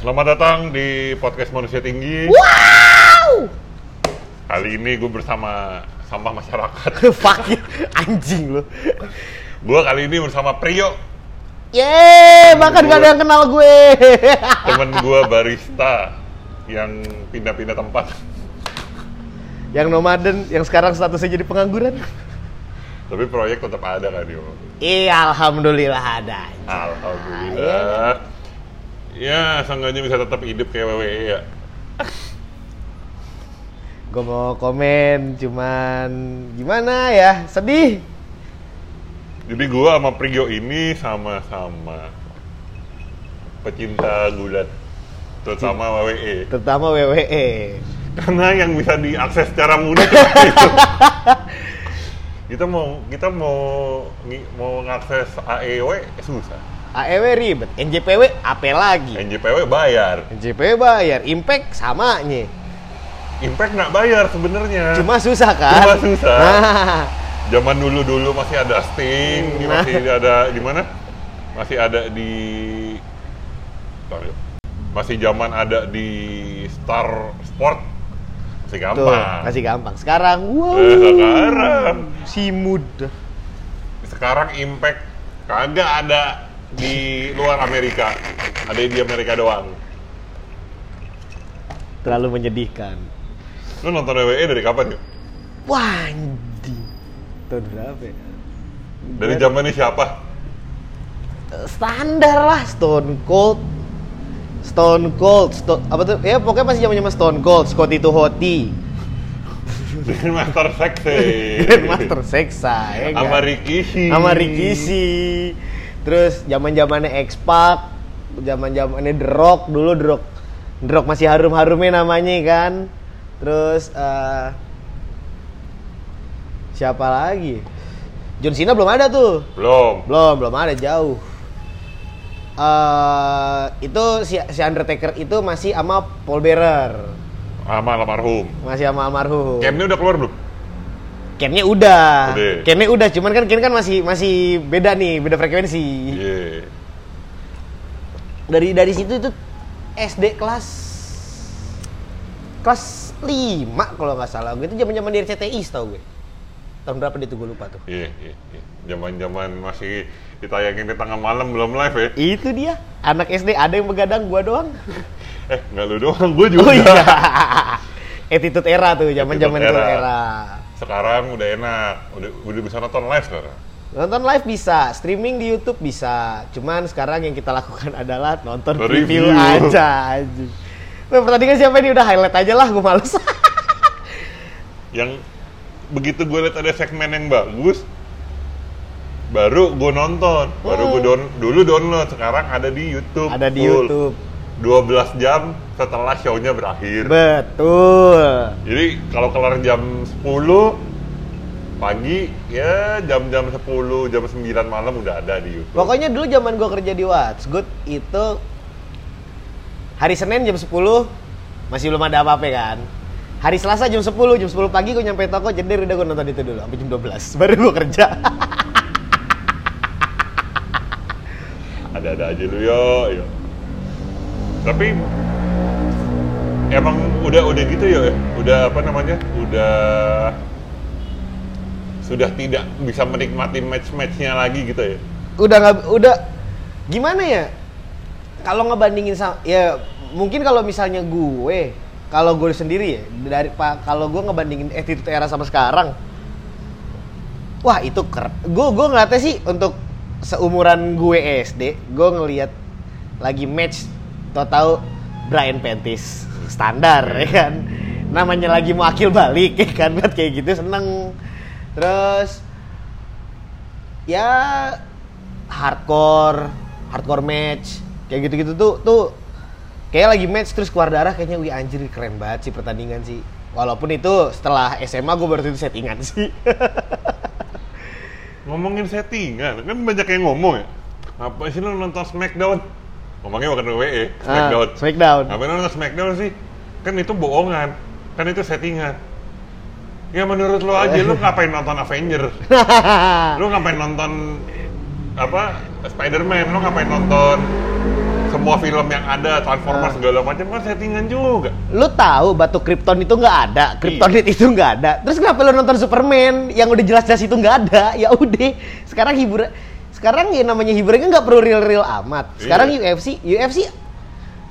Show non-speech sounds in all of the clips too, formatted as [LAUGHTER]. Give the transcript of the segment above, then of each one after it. Selamat datang di podcast Manusia Tinggi. Wow! Kali ini gue bersama sampah masyarakat. Fuck you, anjing lu. Gue kali ini bersama Priyo, Yeay, bahkan gak ada yang kenal gue. temen gue barista yang pindah-pindah tempat. [LAUGHS] yang nomaden, yang sekarang statusnya jadi pengangguran. Tapi proyek tetap ada kan, Yo? Iya, alhamdulillah ada. Alhamdulillah. Ya, seenggaknya bisa tetap hidup kayak WWE ya. Gue mau komen, cuman gimana ya, sedih. Jadi gue sama Priyo ini sama-sama pecinta gulat. Terutama E. WWE. Terutama E. WWE. karena yang bisa diakses secara mudah [LAUGHS] cuma itu. kita mau kita mau ngi- mau ngakses AEW susah AEW E ribet, NJPW apa lagi? NJPW bayar NJPW bayar, Impact samanya. Impact nggak bayar sebenarnya Cuma susah kan? Cuma susah. Nah, zaman dulu dulu masih ada Sting Nah. masih ada di mana masih ada di Sorry. masih zaman ada di Star Sport masih tuh, gampang masih gampang. Sekarang, wow. Eh, sekarang. Si muda. sekarang impact kagak ada di luar Amerika ada di Amerika doang terlalu menyedihkan. lu nonton WWE dari kapan yuk Wah, anjing. Tahun berapa ya? dari Iya. zamannya [LAUGHS] siapa Eh, Standar lah Stone Cold. Stone Cold, Sto- apa tuh? Ya pokoknya masih zaman-zaman Stone Cold, Scotty itu Hoti, dari Master Sexy [LAUGHS] Grandmaster Seksa, ya Iya. sama nggak? Rikishi sama Rikishi. Terus zaman-zamannya X Pac, zaman-zamannya The Rock dulu The Rock. The Rock masih harum-harumnya namanya kan. Terus eh, siapa lagi? John Cena belum ada tuh. belum Belum, belum ada jauh. eh itu si, si Undertaker itu masih sama Paul Bearer, sama almarhum masih sama almarhum. Camnya udah keluar belum Camnya udah, Udah. Camnya udah, cuman kan Cam kan masih masih beda nih, beda frekuensi. iya Dari dari situ itu SD kelas kelas 5 kalau nggak salah. Gue itu zaman-zaman di RCTI tau gue. Tahun berapa dia tuh gue lupa tuh. iya iya iya. zaman-zaman masih ditayangin di tengah malam belum live ya Itu dia, anak SD ada yang begadang gua doang. eh nggak lu doang gue juga Oh [LAUGHS] iya. Attitude era tuh, zaman-zaman Attitude itu era. era. sekarang udah enak udah udah bisa nonton live sekarang Nonton live bisa, streaming di YouTube bisa. Cuman sekarang yang kita lakukan [LAUGHS] adalah nonton Review. review, aja. anjing. Nah, pertandingan siapa ini udah highlight aja lah, gue males. yang begitu gue lihat ada segmen yang bagus baru gue nonton baru gue down- dulu download sekarang ada di YouTube Oh. Ada di full. YouTube. 12 jam setelah show-nya berakhir Betul. jadi kalau kelar jam 10 pagi ya jam-jam 10 jam 9 malam udah ada di YouTube Pokoknya dulu zaman gue kerja di What's Good itu hari Senin jam 10 masih belum ada apa-apa kan. Hari Selasa jam 10, jam 10 pagi gue nyampe toko jeder udah gue nonton itu dulu sampai jam 12 [LAUGHS] baru gue kerja. ada-ada aja lu yo, yo. tapi emang udah udah gitu ya udah apa namanya udah sudah tidak bisa menikmati match-matchnya lagi gitu ya udah nggak udah gimana ya? Kalau ngebandingin sama ya mungkin kalau misalnya gue kalau gue sendiri ya dari pa- kalau gue ngebandingin attitude era sama sekarang wah itu keren gue gue ngeliatnya sih untuk seumuran gue SD gue ngeliat lagi match tau tau Brian Pentis standar ya kan namanya lagi mau akil balik [LAUGHS] ya kan buat kayak gitu seneng terus ya hardcore hardcore match kayak gitu gitu tuh tuh kayak lagi match terus keluar darah kayaknya wih anjir keren banget sih pertandingan sih walaupun itu setelah SMA gue baru itu settingan sih ngomongin settingan kan banyak yang ngomong ya apa sih lu nonton Smackdown ngomongnya bukan WWE Smackdown Ah, [LAUGHS] Smackdown. Ngapain lu nonton Smackdown sih kan itu bohongan kan itu settingan ya menurut lu aja lu ngapain nonton Avenger lu ngapain nonton apa Spider-Man lu ngapain nonton semua film yang ada Transformers segala macam kan settingan juga Lu tahu batu Krypton itu nggak ada, Kryptonit itu nggak ada. Terus kenapa lu nonton Superman yang udah jelas-jelas itu nggak ada? [LAUGHS] Ya udah, sekarang hiburan sekarang ya namanya hiburannya nggak perlu real-real amat. Sekarang Iya. UFC, UFC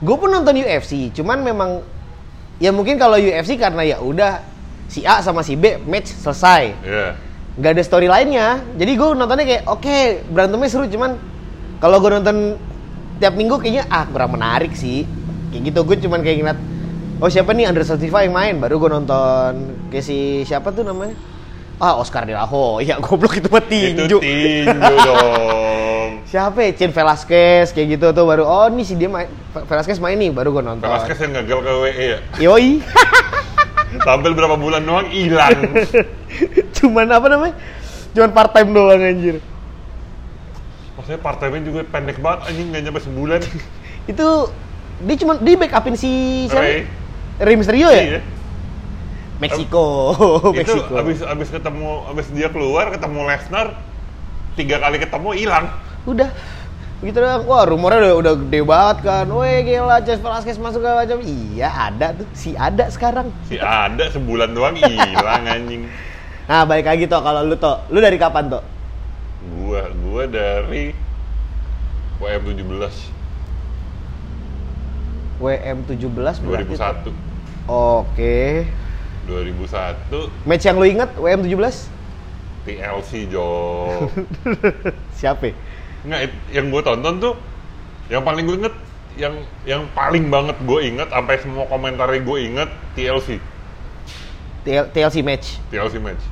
gue pun nonton UFC, cuman memang ya mungkin kalau UFC karena ya udah si A sama si B match selesai. ya nggak ada story lainnya jadi gue nontonnya kayak oke berantemnya seru cuman kalau gue nonton tiap minggu kayaknya ah kurang menarik sih kayak gitu gue cuman kayak ngeliat oh siapa nih Andre Silva yang main baru gue nonton kayak si siapa tuh namanya ah Oscar De La Hoya [LAUGHS] ya goblok itu mah itu tinju tinju dong siapa ya Chin Velasquez kayak gitu tuh baru oh nih si dia main Ve- Velasquez main nih baru gue nonton Velasquez yang gagal ke WE ya yoi [LAUGHS] tampil berapa bulan doang hilang cuman apa namanya cuman part time doang anjir maksudnya part time juga pendek banget anjing nggak nyampe sebulan itu dia cuma dia back upin si Ray. siapa? Rey Mysterio ya? iya Meksiko, itu Meksiko. abis abis ketemu abis dia keluar ketemu Lesnar tiga kali ketemu hilang Udah. Begitu doang. Wah, rumornya udah, udah gede banget kan. Weh, gila, Cez Velasquez masuk segala macam. Iya, ada tuh. Si ada sekarang. si ada sebulan doang [LAUGHS] hilang anjing Nah, balik lagi toh kalau lu toh. Lu dari kapan toh? gua gua dari WM 17 WM 17 berarti. Tok. 2001 Oke. 2001 Match yang lu inget WM 17? TLC Jo Siapa? ya? Nggak, it- yang gue tonton tuh yang paling gue inget yang yang paling banget gue inget sampai semua komentar gue inget TLC TL- TLC match. [LAUGHS] TLC match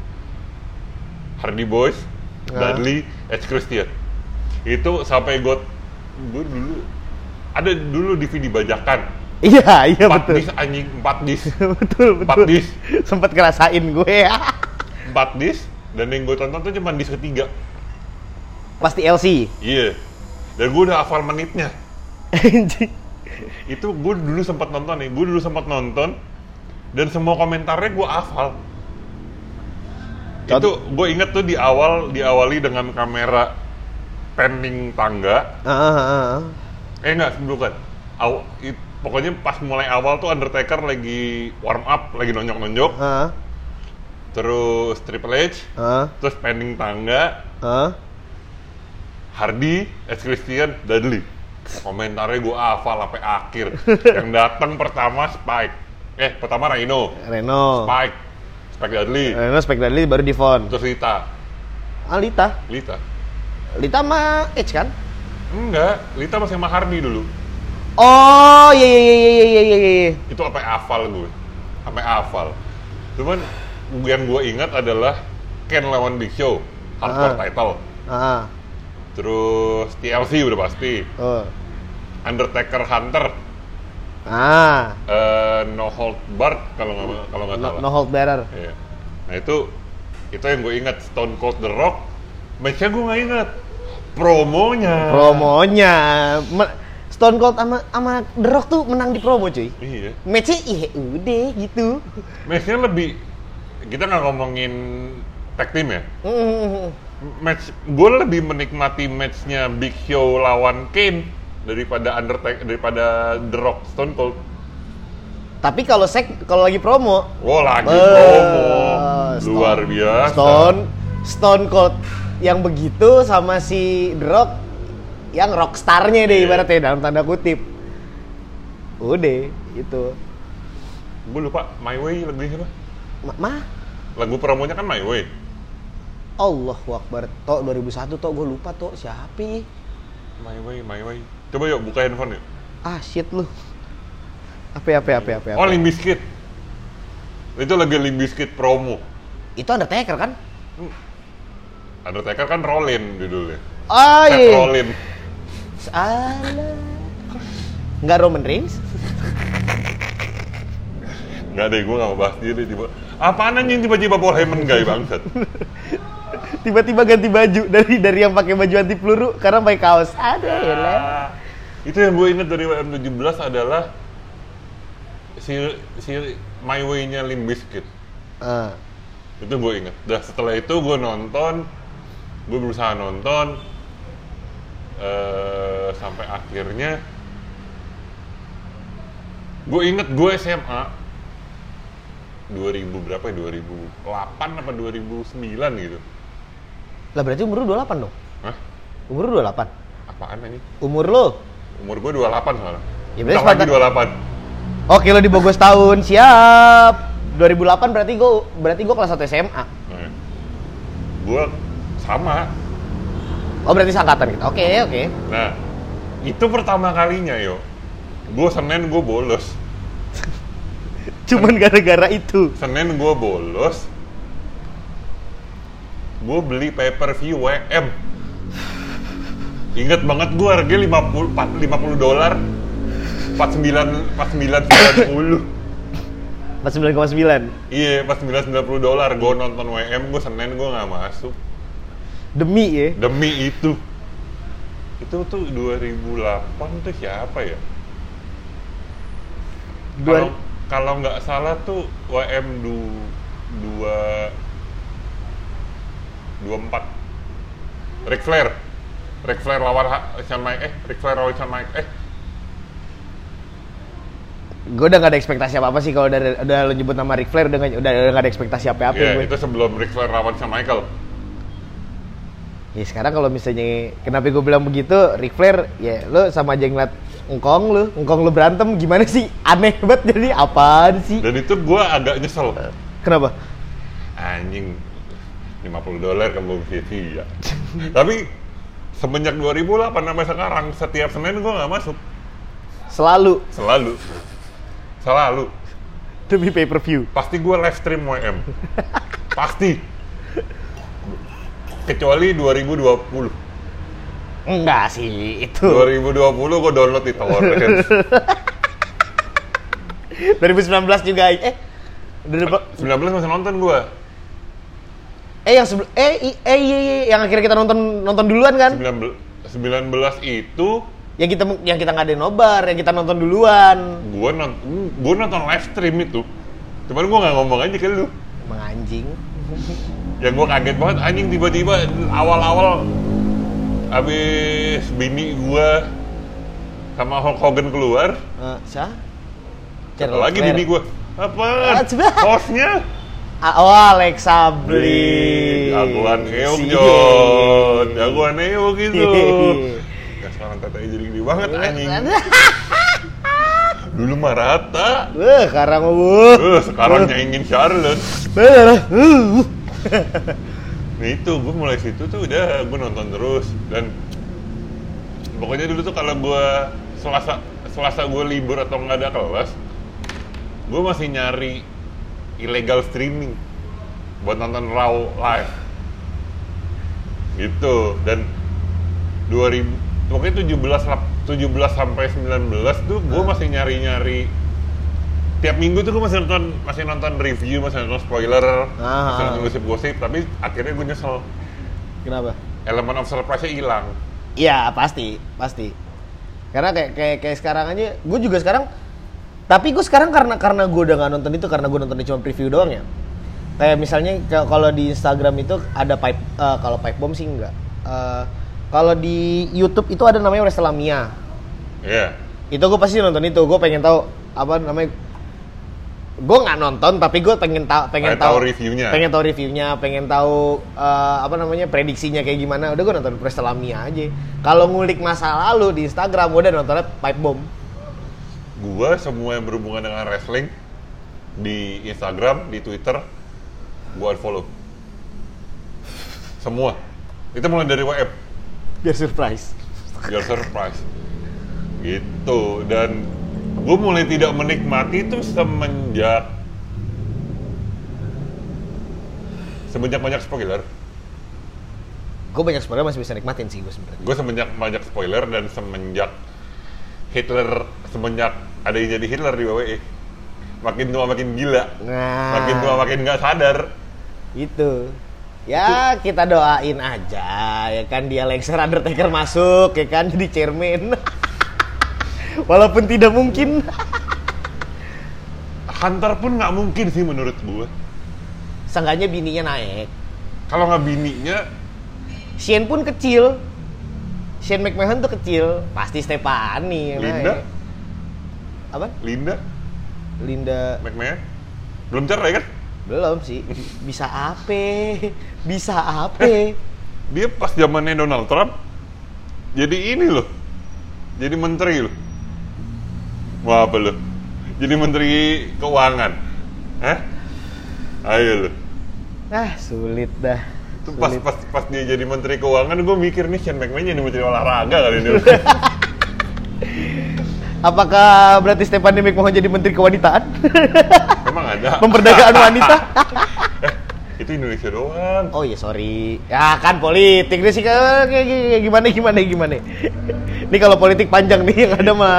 Hardy Boys Ah. Dudley Edge Christian itu sampai gue gue dulu ada dulu DVD bajakan Iya, iya empat betul. dis anjing empat dis [LAUGHS] betul, empat betul. dis Sempet ngerasain gue. [LAUGHS] empat dis dan yang gue tonton tuh cuma dis ketiga Pasti LC. iya dan gue udah hafal menitnya [LAUGHS] Anjing. itu gue dulu sempat nonton nih gue dulu sempat nonton dan semua komentarnya gue hafal Cont- itu gue inget tuh di awal diawali dengan kamera pending tangga Ah, ah, ah, ah. eh enggak bukan Aw, it- pokoknya pas mulai awal tuh Undertaker lagi warm up lagi nonjok nonjok Ah, terus Triple H ah, terus pending tangga ah. Hardy, Edge Christian, Dudley. Komentarnya gue hafal sampai akhir. Yang datang pertama Spike. Eh, pertama Rhino. Oh. Reno. Spike. Spike Dudley. Reno Spike Eh, Dudley baru di Fon. Terus Lita. Ah, Lita. Lita. Lita sama Edge kan? Enggak, Lita masih sama Hardy dulu. Oh, iya iya iya iya iya iya iya. Itu apa hafal gue. Sampai hafal. Cuman yang gue ingat adalah Ken lawan Big Show. Hardcore Ah. title. Ah, Terus TLC udah pasti. oh. Undertaker Hunter. Ah, eh, no Hold Barred kalau nggak kalau nggak no, salah. no hold bearer. Iya. Nah itu itu yang gue ingat Stone Cold The Rock. Matchnya gue nggak ingat. Promonya. Promonya Me- Stone Cold sama sama The Rock tuh menang di promo, cuy. Iya. Matchnya iya udah gitu. Matchnya lebih kita nggak ngomongin tag team ya. Mm. Match gue lebih menikmati matchnya Big Show lawan Kane daripada Undertaker daripada The Rock Stone Cold. Tapi kalau sek kalau lagi promo, Wah lagi Eh, promo Stone- luar biasa. Stone Stone Cold yang begitu sama si The Rock yang rockstarnya deh Iya. ibaratnya dalam tanda kutip. Udah itu. Gue lupa My Way lagunya siapa? Ma- Ma, Lagu promonya kan My Way. Allah Akbar. Tok 2001 tok gue lupa tok siapa. ya? ih? My Way, My Way. Coba yuk buka handphone yuk. Ah shit lu. Apa ya, apa apa apa. apa. Oh, Limbiskit. Itu lagi Limbiskit promo. Itu Undertaker kan? Undertaker kan Rolin judulnya. Oh Seth iya. Rollin. Salah. Enggak Roman Reigns? [LAUGHS] Nggak deh, gue nggak mau bahas dia deh. Tiba... Apaan anjing tiba-tiba Paul Heyman gay bangsat? Tiba-tiba ganti baju dari dari yang pakai baju anti peluru karena pakai kaos. ya, Aduh, elah. Ah, itu yang gue inget dari WM17 adalah si, si My Way-nya Limbiskit. Ah. Itu gue inget. Dah setelah itu gue nonton, gue berusaha nonton eh sampai akhirnya Gue inget gue SMA 2000 berapa ya? 2008 apa 2009 gitu. Lah berarti umur lu 28 dong. Hah? Umur lu 28. Apaan ini? Umur lu. Umur gue 28 soalnya. Ya, berarti Bentar lagi sepakat. 28. Oke, lo di Bogor setahun. Siap. 2008 berarti gue berarti gue kelas 1 SMA. Nah, gue sama. Oh, berarti seangkatan kita. Oke, oke. Nah, itu pertama kalinya yo. Gue Senin gue bolos. Cuman gara-gara itu. Senin gue bolos. Gue beli pay per view WM. Ingat banget gue harganya 50 4 50 dolar. 49 4990. 49,9. Iya, 4990 dolar. Gue nonton WM, gue Senin gue nggak masuk. Demi ya. Demi itu. Itu tuh 2008 tuh siapa ya? Dua, Kalau kalau nggak salah tuh WM du, dua dua empat. Ric Flair, Ric Flair lawan Ha- Shawn Mike, eh Ric Flair lawan Shawn Mike, eh gue udah gak ada ekspektasi apa-apa sih kalau udah, udah lo nyebut nama Ric Flair udah gak, udah, udah gak ada ekspektasi apa-apa Iya, gue. itu sebelum Ric Flair lawan Shawn Michael. Ya sekarang kalau misalnya kenapa gue bilang begitu, Ric Flair ya lo sama aja ngeliat engkong lo, engkong lo berantem gimana sih? Aneh banget jadi apaan sih? Dan itu gue agak nyesel. Kenapa? Anjing, 50 dolar ke Bung Siti, ya. Tapi semenjak 2008 sampai sekarang setiap Senin gue nggak masuk, Selalu selalu, selalu. demi pay per view. pasti gue live stream WM pasti kecuali 2020 Enggak sih itu. 2020 gue download di torrent 2019 juga eh dari- 19 masih nonton gue eh yang sebelum eh i- eh iya, iya, yang akhirnya kita nonton nonton duluan kan? 19 19 itu Yang kita yang kita ngadain nobar, yang kita nonton duluan. gue nonton gue nonton live stream itu cuman gue nggak ngomong aja ke lu Emang anjing. yang gue kaget banget anjing tiba-tiba awal-awal abis bini gue sama Hulk Hogan keluar Eh, siapa? Satu lagi bini gue apa Ah, coba. hostnya Oh, Alex Sabri. Jagoan Eong Si- Jon, jagoan Eong gitu. [LAUGHS] Ya sekarang tetenya jadi gede banget anjing. Dulu mah rata. Wah, karang bu. Eh, sekarang nyaingin Charlotte. Uh. Nah itu, gue mulai situ tuh udah gue nonton terus dan pokoknya dulu tuh kalau gue selasa selasa gue libur atau nggak ada kelas, gue masih nyari illegal streaming buat nonton raw live gitu dan 2000 pokoknya 17 lap- 17 sampai 19 tuh gue Hah? masih nyari-nyari tiap minggu tuh gue masih nonton masih nonton review masih nonton spoiler masih ah. nonton gosip-gosip tapi akhirnya gue nyesel Kenapa? elemen of surprise-nya hilang Iya, pasti, pasti. Karena kayak kayak kayak sekarang aja, gue juga sekarang tapi gue sekarang karena karena gue udah nggak nonton itu karena gue nontonnya cuma preview doang ya. Kayak misalnya ke- kalau di Instagram itu ada pipe eh, kalau pipe bomb sih enggak. Eh, kalau di YouTube itu ada namanya Wrestlemania. ya itu gue pasti nonton itu gue pengen tahu apa namanya gue nggak nonton tapi gue pengen tahu pengen Pengen tahu tahu reviewnya. pengen tahu reviewnya pengen tahu eh, apa namanya prediksinya kayak gimana udah gue nonton Wrestlemania aja kalau ngulik masa lalu di Instagram gue udah nontonnya pipe bomb gue semua yang berhubungan dengan wrestling di Instagram di Twitter gue unfollow semua itu mulai dari WF biar surprise your surprise gitu dan gue mulai tidak menikmati itu semenjak semenjak banyak spoiler gue banyak sebenarnya masih bisa nikmatin sih gue sebenarnya gue semenjak banyak spoiler dan semenjak Hitler semenjak ada yang jadi Hitler di WWE makin tua makin gila nah makin tua makin nggak sadar itu ya kita doain aja ya kan dia Lexer Undertaker masuk ya kan [LAUGHS] jadi chairman walaupun tidak mungkin Hunter pun nggak mungkin sih menurut gue Seenggaknya bininya naik. kalau nggak bininya Shane pun kecil. Shane McMahon tuh kecil. Pasti Stefani yang Linda? naik. ya, Apa? Linda Linda McMahon belum cerai kan? belum sih. Bisa apa? Bisa apa? Dia pas zamannya Donald Trump jadi ini loh, jadi menteri loh. Mau apa lo? Jadi menteri keuangan, Hah? Ayo lo. Nah, sulit dah. Itu pas, Sulit. pas pas dia jadi menteri keuangan, gue mikir nih Shane McMahon jadi menteri olahraga kali ini. Apakah berarti Stefan Demik mau jadi menteri kewanitaan? [LAUGHS] Emang ada? Pemperdagaan wanita? Itu Indonesia doang. Oh iya sorry. Ya kan politik nih sih kayak kayak- kayak gimana gimana gimana. Ini kalau politik panjang nih yang ada mah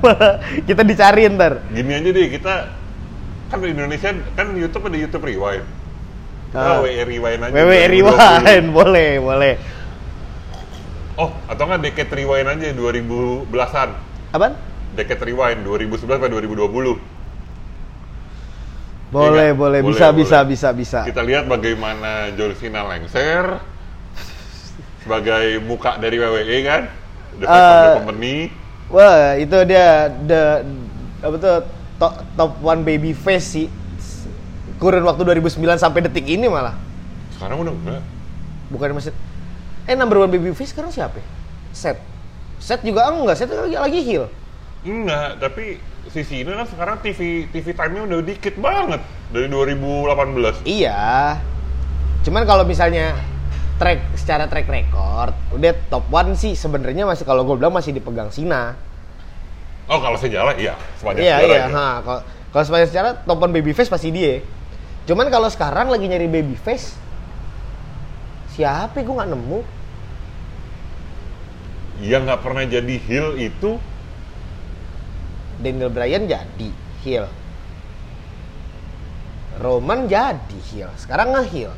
mah kita dicari ntar. Gini aja deh kita kan di Indonesia kan YouTube ada YouTube Rewind. Ah. Kita WE Rewind aja. WWE 2020. rewind boleh boleh. Oh, atau nggak Decade Rewind aja 2010-an. Apaan? Decade Rewind 2011 sampai 2020. Iya Boleh kan? boleh Boleh, bisa boleh. bisa bisa bisa. Kita lihat bagaimana John Cena lengser sebagai muka dari WWE kan. The face of the Eh, company. Wah itu dia the apa tuh top, top one baby face sih. Kurun waktu 2009 sampai detik ini malah. Sekarang udah enggak. Bukan maksud eh number one baby face sekarang siapa? ya? Seth. Seth juga enggak, Seth lagi, lagi heal. Enggak, tapi sisi ini kan sekarang TV TV time-nya udah dikit banget dari 2018. Iya. Cuman kalau misalnya track secara track record, udah top one sih sebenarnya masih kalau gue bilang masih dipegang Sina. Oh, kalau sejarah iya, sepanjang Iya sejarah. ya. iya. Ha, kalau kalau sebenarnya secara top one baby face pasti dia. Cuman kalau sekarang lagi nyari baby face siapa gue nggak nemu. Yang nggak pernah jadi heel itu Daniel Bryan jadi heel. Roman jadi heel. Sekarang nge heel.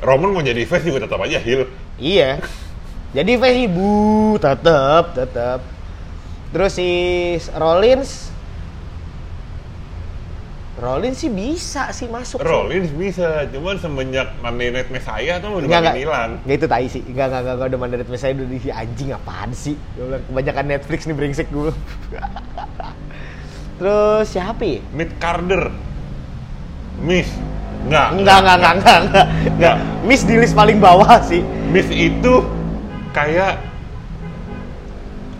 Roman mau jadi face juga tetap aja heel. Iya. [LAUGHS] Jadi face ibu tetep tetep. Terus si Rollins Rollins sih bisa sih masuk. sih. Rollins bisa, cuman semenjak Mandenet Messiah tuh udah Enggak, makin enggak. hilang. Enggak itu tai sih. Enggak enggak enggak enggak, udah mandarit saya udah di anjing apaan sih? Gua bilang kebanyakan Netflix nih brengsek gue. [LAUGHS] Terus siapa ya? Mid Carter. Miss. Enggak. Enggak enggak enggak enggak enggak. Enggak. Miss di list paling bawah sih. Miss itu kayak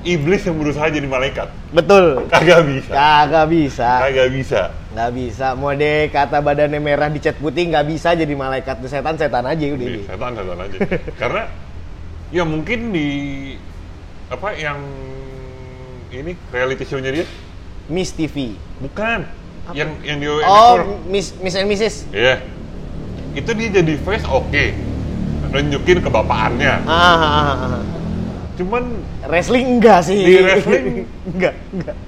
iblis yang berusaha jadi malaikat. Betul. Kagak bisa. Kagak bisa. Kagak bisa. Nggak bisa. Mode kata badannya merah dicat putih nggak bisa jadi malaikat setan setan aja udah. Iya, setan setan aja karena ya mungkin di apa yang ini reality show-nya dia Miss TV. bukan yang yang di WNF Tour. Oh, Miss Miss and Mrs. iya itu dia jadi face oke nunjukin kebapaannya Ah, ah, ah, ah. cuman wrestling enggak sih? Di wrestling? enggak, [LAUGHS] enggak.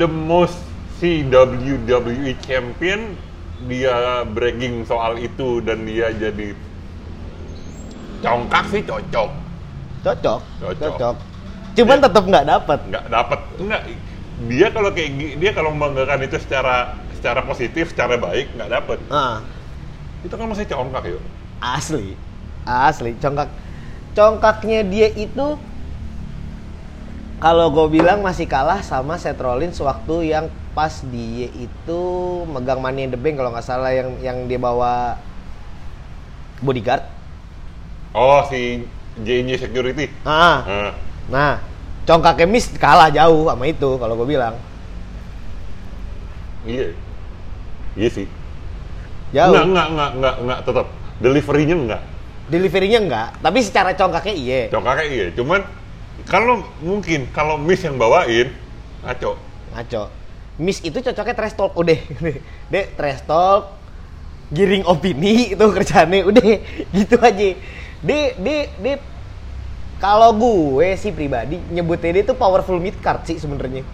the most CWWE E champion dia bragging soal itu dan dia jadi congkak sih cocok Cocok. Cocok. Iya. Cuman tetap nggak dapat. nggak dapat nggak dia kalau kayak gi- dia kalau membanggakan itu secara secara positif secara baik nggak dapat Ah, itu kan masih congkak yuk asli. Asli congkak. Congkaknya dia itu kalau gue bilang masih kalah sama Seth Rollins waktu yang pas dia itu megang Money in the Bank kalau nggak salah yang yang dia bawa bodyguard. oh si JJ Security Ah, Eh, Nah, congkaknya Miss kalah jauh sama itu kalau gue bilang. iya iya sih Jauh. nggak nggak nggak nggak nggak tetap deliverynya nggak Deliverynya enggak, tapi secara congkaknya iya. congkaknya iya cuman kalau mungkin kalau Miss yang bawain ngaco Ngaco. Miss itu cocoknya trash talk udah. [LAUGHS] Dek, trash talk giring opini itu kerjaannya udah [LAUGHS] gitu aja. Di di di kalau gue sih pribadi nyebutnya dia itu powerful mid card sih sebenarnya.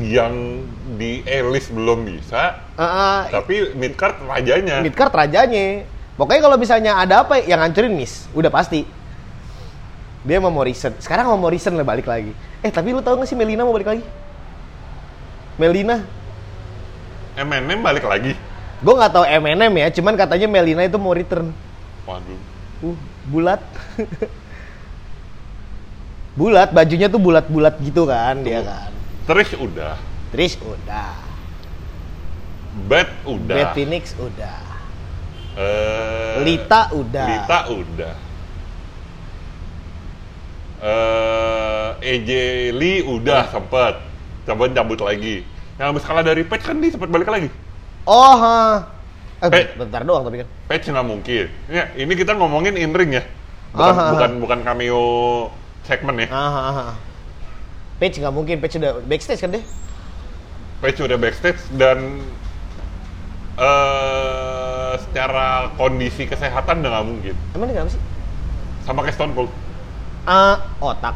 yang di Elis belum bisa Heeh. tapi midcard rajanya mid card rajanya. Pokoknya kalau misalnya ada apa yang ngancurin Miss, udah pasti. Dia mau Morrison. Sekarang mau Morrison lah balik lagi. Eh, tapi lu tahu gak sih Melina mau balik lagi? Melina MNM balik lagi Gue nggak tahu M&M ya, cuman katanya Melina itu mau return. waduh Uh, bulat. bulat, bajunya tuh bulat-bulat gitu kan dia kan. Trish udah Idris udah, Bad udah. Bad Phoenix udah, Eh, Lita udah. Lita udah. Eh, EJ Lee Hmm. udah sempet. Coba cabut lagi. Yang habis kalah dari Patch kan dia sempet balik lagi. Oh, ha. Eh, Eh. bentar doang tapi kan. Patch nggak mungkin. Ya, ini kita ngomongin in ring ya. Bukan, Aha. bukan, bukan cameo segmen ya. Ah, ah, ah. Page nggak mungkin, Page udah backstage kan deh. Patch udah backstage dan eh secara kondisi kesehatan udah nggak mungkin. Emang dia kenapa sih? Sama kayak Stone Cold. Ah, otak.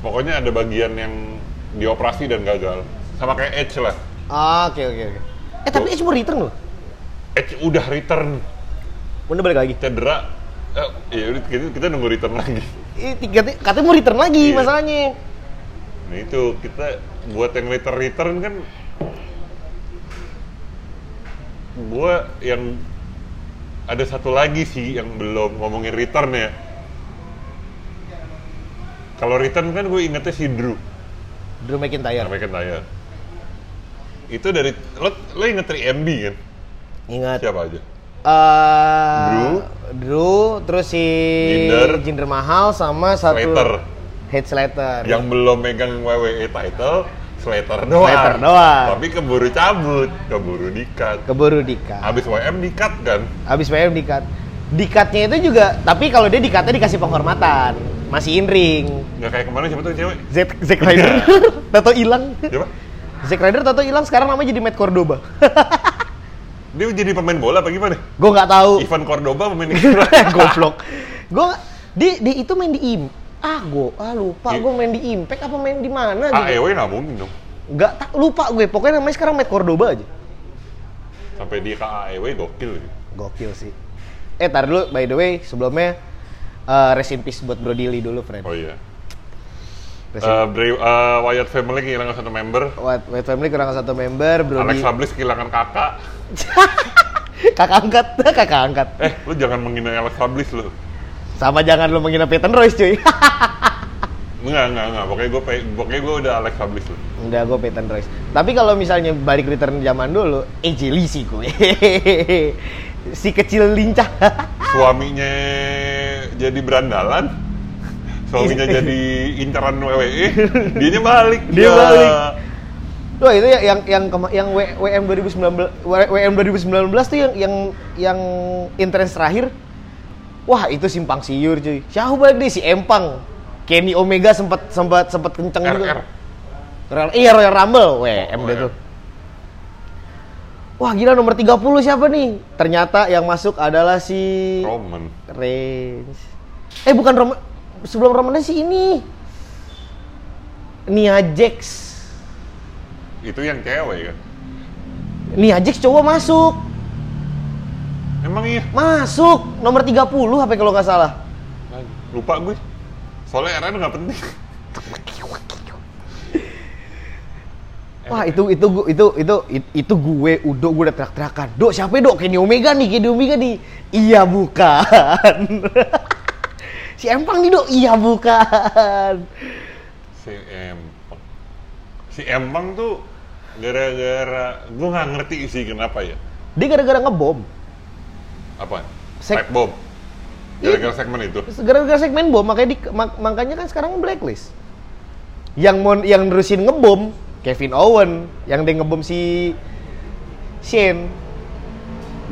Pokoknya ada bagian yang dioperasi dan gagal. Sama kayak Edge lah. Ah, Oke, oke, oke. Eh, tapi Edge mau return loh. Edge Eh, udah return Udah balik lagi. cedera. Eh, ya udah kita, kita nunggu return lagi. Eh, tiga, katanya mau return lagi Iya. masalahnya. Nah itu kita buat yang return return kan gua yang ada satu lagi sih yang belum ngomongin return ya. Kalau return kan gue ingetnya si Drew. Drew McIntyre. Namanya kan tayar. Itu dari lo, lo inget 3MB kan? Ingat. Siapa aja? Eh, Drew. Drew, terus si Jinder. Jinder Mahal sama satu Slater. Ya. Head Slater. Yang belum megang WWE title Slater doang. Slater doang. Tapi keburu cabut, keburu dikat. Keburu dikat. Habis WM dikat kan? Habis PM dikat. Dikatnya itu juga, tapi kalau dia dikatnya dikasih penghormatan. Masih in ring. Nggak kayak kemarin siapa tuh yang cewek? Zack Zack Iya. Ryder. [LAUGHS] Tato hilang. Siapa? Zack Ryder tato hilang sekarang namanya jadi Matt Cordoba. [LAUGHS] Dia jadi pemain bola apa gimana? Gue nggak [LAUGHS] tahu. Ivan Cordoba pemain [LAUGHS] bola. Goblok. Gue dia, dia itu main di im. Ah, gue ah lupa Iya. Ah, gue main di Impact apa main di mana gitu. AEW E nggak mungkin dong. Nggak tak lupa gue. Pokoknya namanya sekarang Matt Cordoba aja. Sampai dia ke AEW gokil. Gokil sih. Eh, tar dulu by the way sebelumnya eh rest in peace buat Bro Dili dulu, friend. Oh iya. Rest in- Eh, Bray- eh, Wyatt Family kehilangan satu member. White, White Family kurang satu member, Bro Di- Alexa Bliss kehilangan kakak. [LAUGHS] kakak angkat, [LAUGHS] kakak angkat. Eh, lu jangan menghina Alexa Bliss lu. Sama jangan lu menghina Peyton Royce, cuy. [LAUGHS] Enggak, enggak, enggak. Pokoknya gue pokoknya gue udah Alexa Bliss lu. Enggak, gue Peyton Royce. Tapi kalau misalnya balik return zaman dulu, AJ Lee sih gue. [LAUGHS] si kecil lincah. [LAUGHS] Suaminya jadi berandalan. Suaminya jadi incaran WWE. Dianya balik. Iya. Dia Ya. balik. Loh, itu ya- yang yang kema- yang W- WM 2019 W- WM 2019 tuh yang yang yang entrance terakhir. Wah, itu simpang siur cuy. Siapa balik deh si Empang. Kenny Omega sempat sempat sempat kenceng RR. juga. Royal, iya Royal Rumble, WM deh WM. tuh. Wah, gila nomor 30 siapa nih? Ternyata yang masuk adalah si Roman. Reigns. Eh bukan Roman, sebelum Romannya sih ini. Nia Jax. Itu yang cewek kan. Nia Jax cowok masuk. Emang iya. Masuk nomor 30 apa kalau nggak salah. Lupa gue. Soalnya RN nggak penting. Wah, itu itu gu- itu itu itu, itu gue Udo gue udah teriak-teriakan. Dok, siapa ya, Dok? Kenny Omega nih, Kenny Omega nih. Iya bukan. [LAUGHS] si Empang nih, Dok. Iya bukan. Si Empang. Si Empang tuh gara-gara gue nggak ngerti sih kenapa ya. Dia gara-gara ngebom. Apa? Sek Sek- Iya. Bob. Gara-gara segmen itu. Gara-gara segmen bom, makanya di, mak- makanya kan sekarang blacklist. Yang mon, yang nerusin ngebom Kevin Owen, yang dia ngebom si Shane.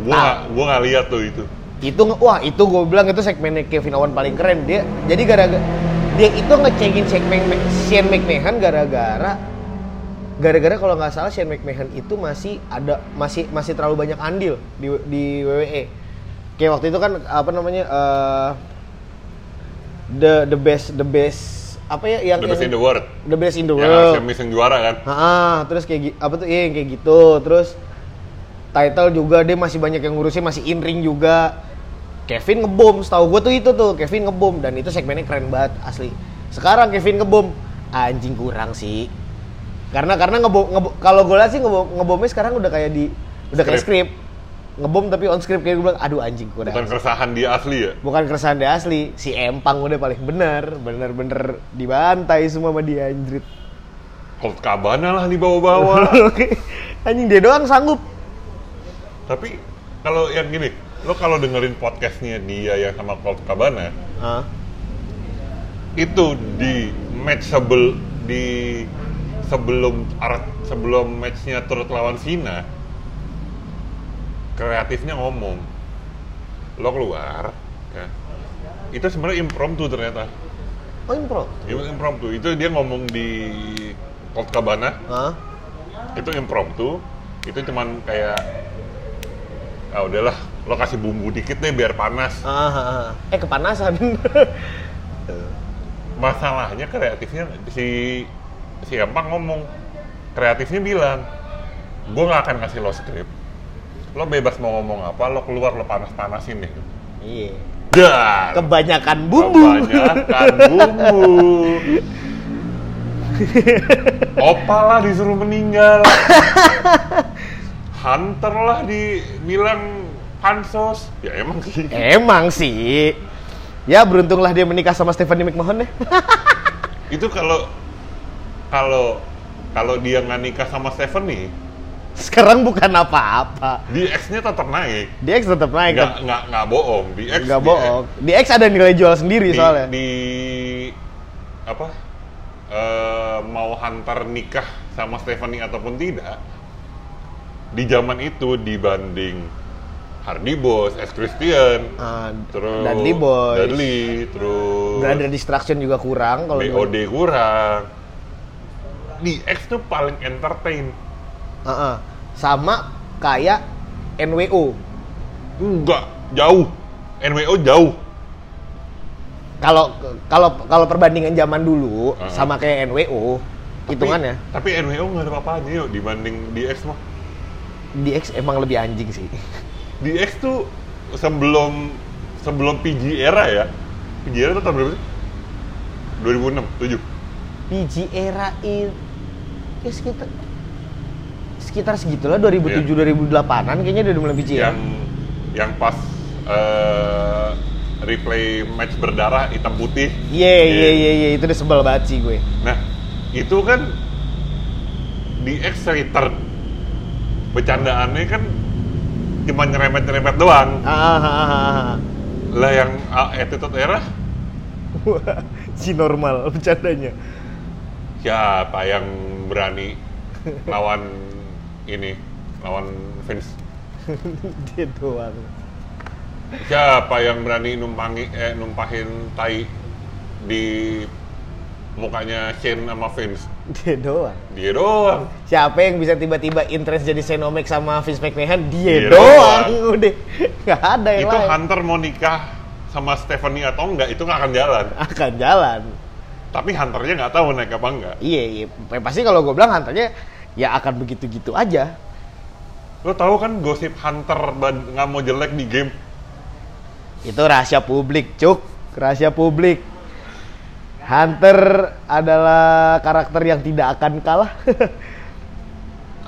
Gue Ah. nggak gue nggak lihat tuh itu. itu nge- wah itu gue bilang itu segmennya Kevin Owen paling keren dia jadi gara-gara dia itu ngecekin segmen Ma- Shane McMahon gara-gara gara-gara kalau nggak salah Shane McMahon itu masih ada masih masih terlalu banyak andil di di WWE kayak waktu itu kan apa namanya eh, the the best the best apa ya yang The best in yang- the world. the best in the Yang world harusnya Miss yang juara kan. Ah, terus kayak gi- apa tuh? Iya, yang kayak gitu. Terus title juga dia masih banyak yang ngurusin, masih in ring juga. Kevin ngebom, setahu gue tuh itu tuh, Kevin ngebom dan itu segmennya keren banget asli. Sekarang Kevin ngebom, anjing kurang sih. Karena karena ngebom, ngebom kalau gue lihat sih ngebom, ngebomnya sekarang udah kayak di udah kayak Script. script. Ngebom tapi on script kayak gue bilang, aduh anjing kurang. Bukan keresahan dia asli ya. Bukan keresahan dia asli, si Empang udah paling bener, bener-bener dibantai semua sama dia anjrit. Colt Cabana lah [LAUGHS] dibawa-bawa. Anjing dia doang sanggup. Tapi kalau yang gini, lo kalau dengerin podcastnya dia yang sama Colt Cabana, Hah? itu di match sebel di sebelum ar- sebelum matchnya turut lawan Cina kreatifnya ngomong lo keluar ya. itu sebenarnya impromptu ternyata Oh impro. itu impromptu itu dia ngomong di Colt Cabana Hah? itu impromptu itu cuman kayak ah udahlah lo kasih bumbu dikit deh biar panas Ah, ah, ah. Eh kepanasan. [LAUGHS] masalahnya kreatifnya si si Empang ngomong kreatifnya bilang gue nggak akan kasih lo skrip lo bebas mau ngomong apa lo keluar lo panas panasin deh Iya. dan Kebanyakan bumbu. kebanyakan bumbu opa lah disuruh meninggal hunter lah dibilang pansos ya emang sih Emang sih. Ya beruntunglah dia menikah sama Stephanie McMahon ya. deh. itu kalau kalau kalau dia nggak nikah sama Stephanie [LAUGHS] Sekarang bukan apa-apa. DX-nya tetap naik. DX tetap naik. Nggak, nggak, nggak bohong. DX, Nggak bohong. DX ada nilai jual sendiri Di, Iya, soalnya. di apa? eh, mau hantar nikah sama Stephanie ataupun tidak di zaman itu dibanding Hardy Boys, S. Christian, Ah, terus Dudley Boy. Dudley, terus Brother Distraction juga kurang kalau BOD kurang. DX tuh paling entertain. Ah, ah. Sama kayak NWO. Enggak, jauh. NWO jauh. Kalau kalau kalau perbandingan zaman dulu Ah. sama kayak NWO hitungannya Tapi, tapi NWO nggak ada apa-apanya yuk dibanding DX mah. DX emang lebih anjing sih. DX tuh sebelum sebelum PG era ya. PG era tuh tahun berapa sih? 2006, 7. PG era itu ya sekitar sekitar segitulah 2007 2008-an kayaknya udah mulai PG ya. Yang yang pas eh, replay match berdarah hitam putih. Iya iya iya iya itu udah sebel banget sih gue. Nah, itu kan DX return. Bercandaannya kan cuma nyerempet-nyerempet doang. Ah, ah, ah, ah, ah. Lah yang ah, attitude era Wah, si normal bercandanya. [LAUGHS] siapa yang berani lawan ini lawan Vince Dia doang. siapa yang berani numpangi eh, numpahin tai di mukanya Shane sama Vince Dia doang. dia doang Siapa yang bisa tiba-tiba interest jadi Senomek sama Vince McMahon? Dia, Dia doang. Udah. Gak ada yang itu lain. Hunter mau nikah sama Stephanie atau enggak itu nggak akan jalan Akan jalan. tapi Hunternya nggak tahu naik apa enggak Iya, iya. Ya, Pasti kalau gue bilang hantarnya ya akan begitu-gitu aja. lo tahu kan gosip Hunter ban- nggak mau jelek di game Itu rahasia publik, Cuk. Rahasia publik. Hunter adalah karakter yang tidak akan kalah. [LAUGHS]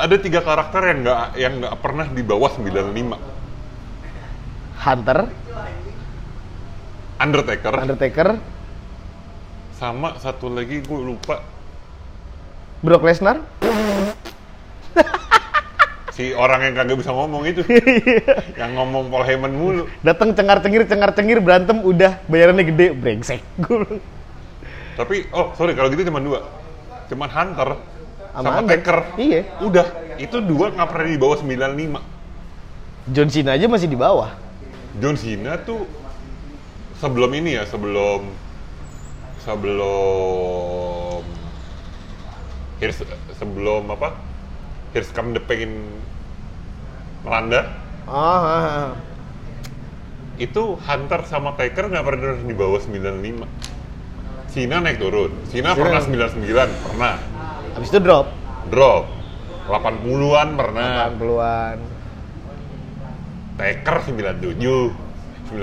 ada tiga karakter yang nggak yang nggak pernah di bawah 95 Hunter, Undertaker Undertaker, sama satu lagi gue lupa Brock Lesnar. si orang yang kagak bisa ngomong itu yang ngomong Paul Heyman mulu Datang cengar-cengir, cengar-cengir, berantem, udah bayarannya gede, brengsek. [LAUGHS] Gua bilang, tapi oh sorry kalau gitu cuma dua cuman Hunter Sama sama, Hunter. Taker Iya. udah itu dua nggak pernah di bawah 95 John Cena aja masih di bawah. John Cena tuh sebelum ini ya sebelum sebelum here's, sebelum apa Here's Come the Pain melanda Ah, ah, ah. itu Hunter sama Taker nggak pernah di bawah 95 Cina naik turun Cina Cina. pernah 99 pernah Habis itu drop. drop 80-an pernah 80-an. Taker 97 99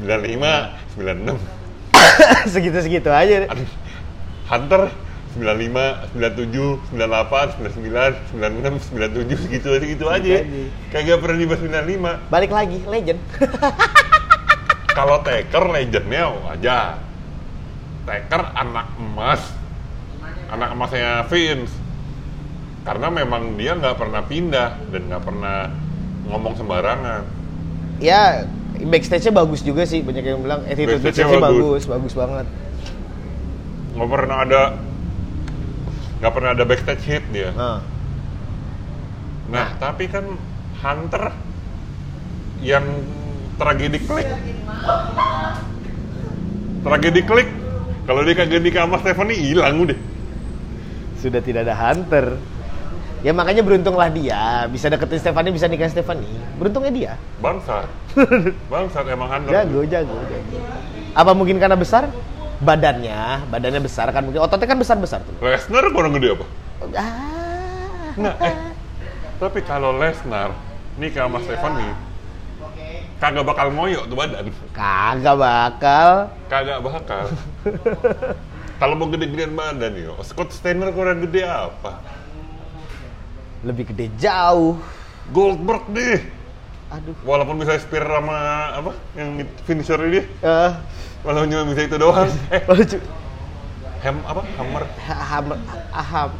95 96 [LAUGHS] Segitu-segitu aja. Aduh, Hunter 95 97 98 99 96 97 gitu aja gitu aja aja. kagak pernah di bawah 95 Balik lagi, legend. kalau Taker legendnya wajar Taker anak emas anak emasnya Vince karena memang dia nggak pernah pindah dan nggak pernah ngomong sembarangan ya backstage-nya bagus juga sih banyak yang bilang attitude Backstage-nya backstage-nya bagus. bagus. bagus banget nggak pernah ada nggak pernah ada backstage hit dia nah nah tapi kan Hunter yang tragedi klik tragedi klik kalau dia kagak nikah sama Stephanie hilang udah sudah tidak ada hunter ya makanya beruntunglah dia bisa deketin Stefani bisa nikahin Stefani beruntungnya dia bangsat bangsat emang Hunter jago jago jago apa mungkin karena besar badannya badannya besar kan mungkin ototnya kan besar besar tuh Lesnar kurang gede apa ah. Nah, eh, tapi kalau Lesnar nikah sama Stephanie, kagak bakal moyo tuh badan. kagak bakal Kagak [LAUGHS] bakal. kalau mau gede-gedean badan yo, Scott Steiner kurang gede apa? lebih gede jauh Goldberg deh. aduh Walaupun bisa spear sama apa yang finisher dia, eh walaupun cuma bisa itu [LAUGHS] doang. Eh, lucu ham apa? Hammer. Ha- hammer ah, ham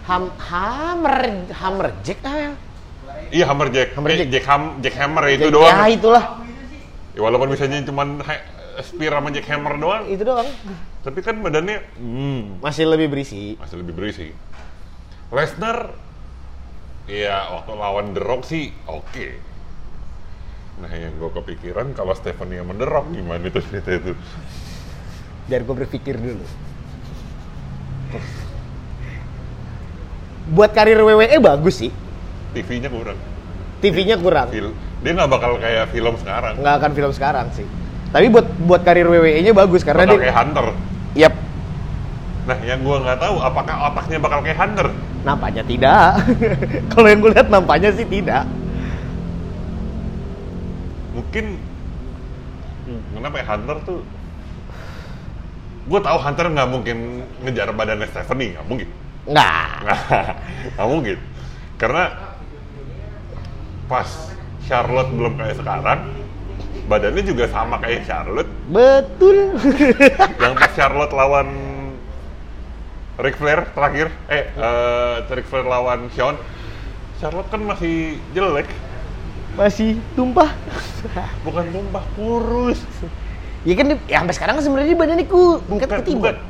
ham hammer hammer jack ah. Iya Hammer Jack. Hammer Eh, Jack. Jack, Ham, Jack Hammer ya, itu Jack- doang. ya itulah Ya, walaupun misalnya cuma spear sama Jack Hammer doang, itu doang tapi kan badannya hmm, masih lebih berisi masih lebih berisi. Lesnar, ya waktu lawan The Rock sih oke. Nah yang gue kepikiran kalau Stephanie sama The Rock gimana itu cerita itu. biar gue berpikir dulu buat karir WWE bagus sih TV-nya kurang. TV-nya kurang Fil- Dia nggak bakal kayak film sekarang. nggak akan film sekarang sih tapi buat buat karir WWE-nya bagus karena bakal dia kayak Hunter. ya? yap Nah yang gue nggak tahu apakah otaknya bakal kayak Hunter. nampaknya tidak [LAUGHS] kalau yang gue lihat nampaknya sih tidak Mungkin hmm, kenapa ya Hunter tuh? Gue tahu Hunter nggak mungkin ngejar badannya Stephanie, nggak mungkin. nggak nggak mungkin karena pas Charlotte belum kayak sekarang badannya juga sama kayak Charlotte betul [LAUGHS] yang pas Charlotte lawan Ric Flair terakhir eh eh, Ric Flair lawan Shawn Charlotte kan masih jelek masih tumpah bukan tumpah kurus ya kan dia- ya sampai sekarang sebenarnya dia badannya ku bukan ketiban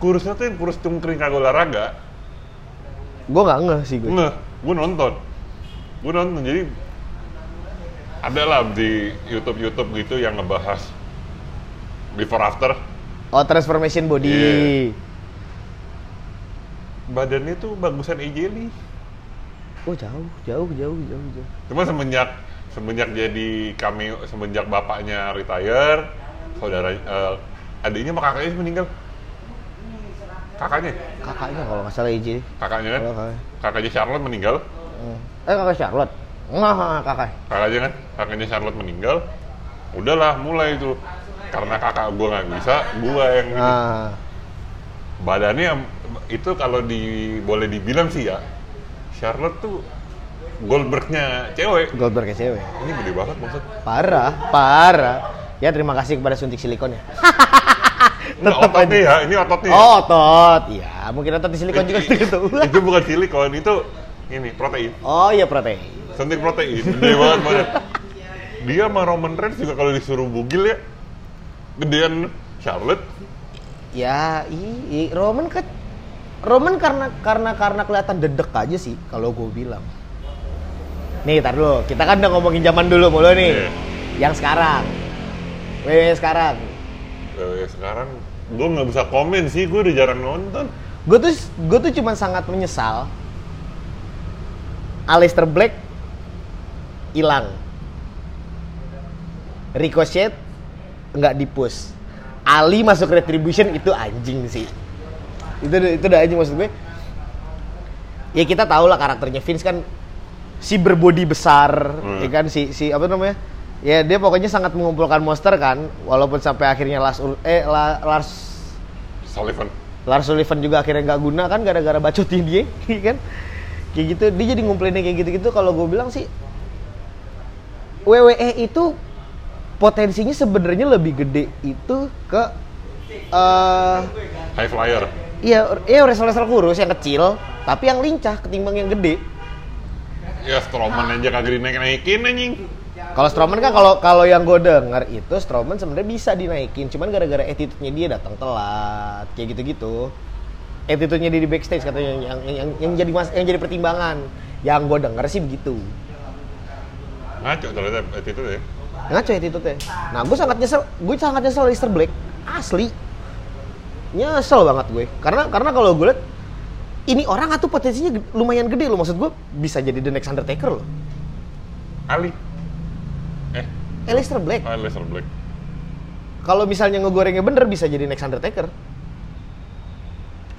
kurusnya tuh yang kurus cungkring kagak olahraga gue nggak ngeh sih gue Nggak, gue Nah, nonton. Gue nonton, jadi ada lah di YouTube-YouTube gitu yang ngebahas before after. oh transformation body Iya. Badannya tuh bagusan AJ Lee. oh jauh jauh jauh jauh jauh Cuma semenjak semenjak jadi cameo, semenjak bapaknya retire, saudara eh, adiknya sama kakaknya meninggal. Kakaknya, kakaknya kalau nggak salah IJ kakaknya kan? Kalau kakaknya. Kakaknya Charlotte meninggal. Hmm. eh kakak Charlotte nggak kakak kakaknya kan kakaknya Charlotte meninggal udahlah mulai itu karena kakak gua nggak bisa gua yang gitu. ini. nah badannya itu kalau di boleh dibilang sih ya Charlotte tuh Goldbergnya cewek Goldberg ya cewek ini gede banget maksud parah parah ya terima kasih kepada suntik silikonnya Nggak, Tetep ototnya ya ini ototnya ya. oh otot ya mungkin otot di silikon juga Itu- gitu [LAUGHS] itu bukan silikon itu ini protein oh iya protein suntik protein gede banget badan. dia sama Roman Reigns juga kalau disuruh bugil ya gedean Charlotte ya i, i- Roman ke Roman karena karena karena kelihatan dedek aja sih kalau gue bilang nih tar dulu kita kan udah ngomongin zaman dulu mulu nih Iya. yang sekarang WWE sekarang Eh, sekarang gue nggak bisa komen sih gue udah jarang nonton gue tuh gue tuh cuman sangat menyesal Aleister Black hilang Ricochet nggak dipus Ali masuk Retribution itu anjing sih itu itu udah anjing maksud gue ya kita tahu lah karakternya Vince kan si berbodi besar Hmm. ya kan si si apa namanya ya dia pokoknya sangat mengumpulkan monster kan walaupun sampai akhirnya Lars Ul- eh La- Lars Sullivan Lars Sullivan juga akhirnya nggak guna kan gara-gara bacotin dia [LAUGHS] iya kan kayak gitu dia jadi ngumpulinnya kayak gitu-gitu kalau gue bilang sih WWE itu potensinya sebenarnya lebih gede itu ke eh High Flyer Iya, ya wrestler-wrestler kurus yang kecil, tapi yang lincah ketimbang yang gede. Ya Stroman aja kagak dinaik-naikin anjing. Kalau Strowman kan kalau kalau yang gue denger itu Strowman sebenarnya bisa dinaikin, cuman gara-gara attitude-nya dia datang telat, kayak gitu-gitu. Attitude-nya dia di backstage katanya yang yang, yang, yang jadi mas, yang jadi pertimbangan. Yang gue denger sih begitu. Ngaco ternyata attitude ya. Ngaco attitude-nya. Nah, gue sangat nyesel, gue sangat nyesel Easter Black. Asli. Nyesel banget gue. Karena karena kalau gue liat ini orang atuh potensinya ged- lumayan gede loh maksud gue bisa jadi the next Undertaker loh. Ali. Eh, Easter Black. ah, Lester Black. Kalau misalnya ngegorengnya bener bisa jadi next Undertaker.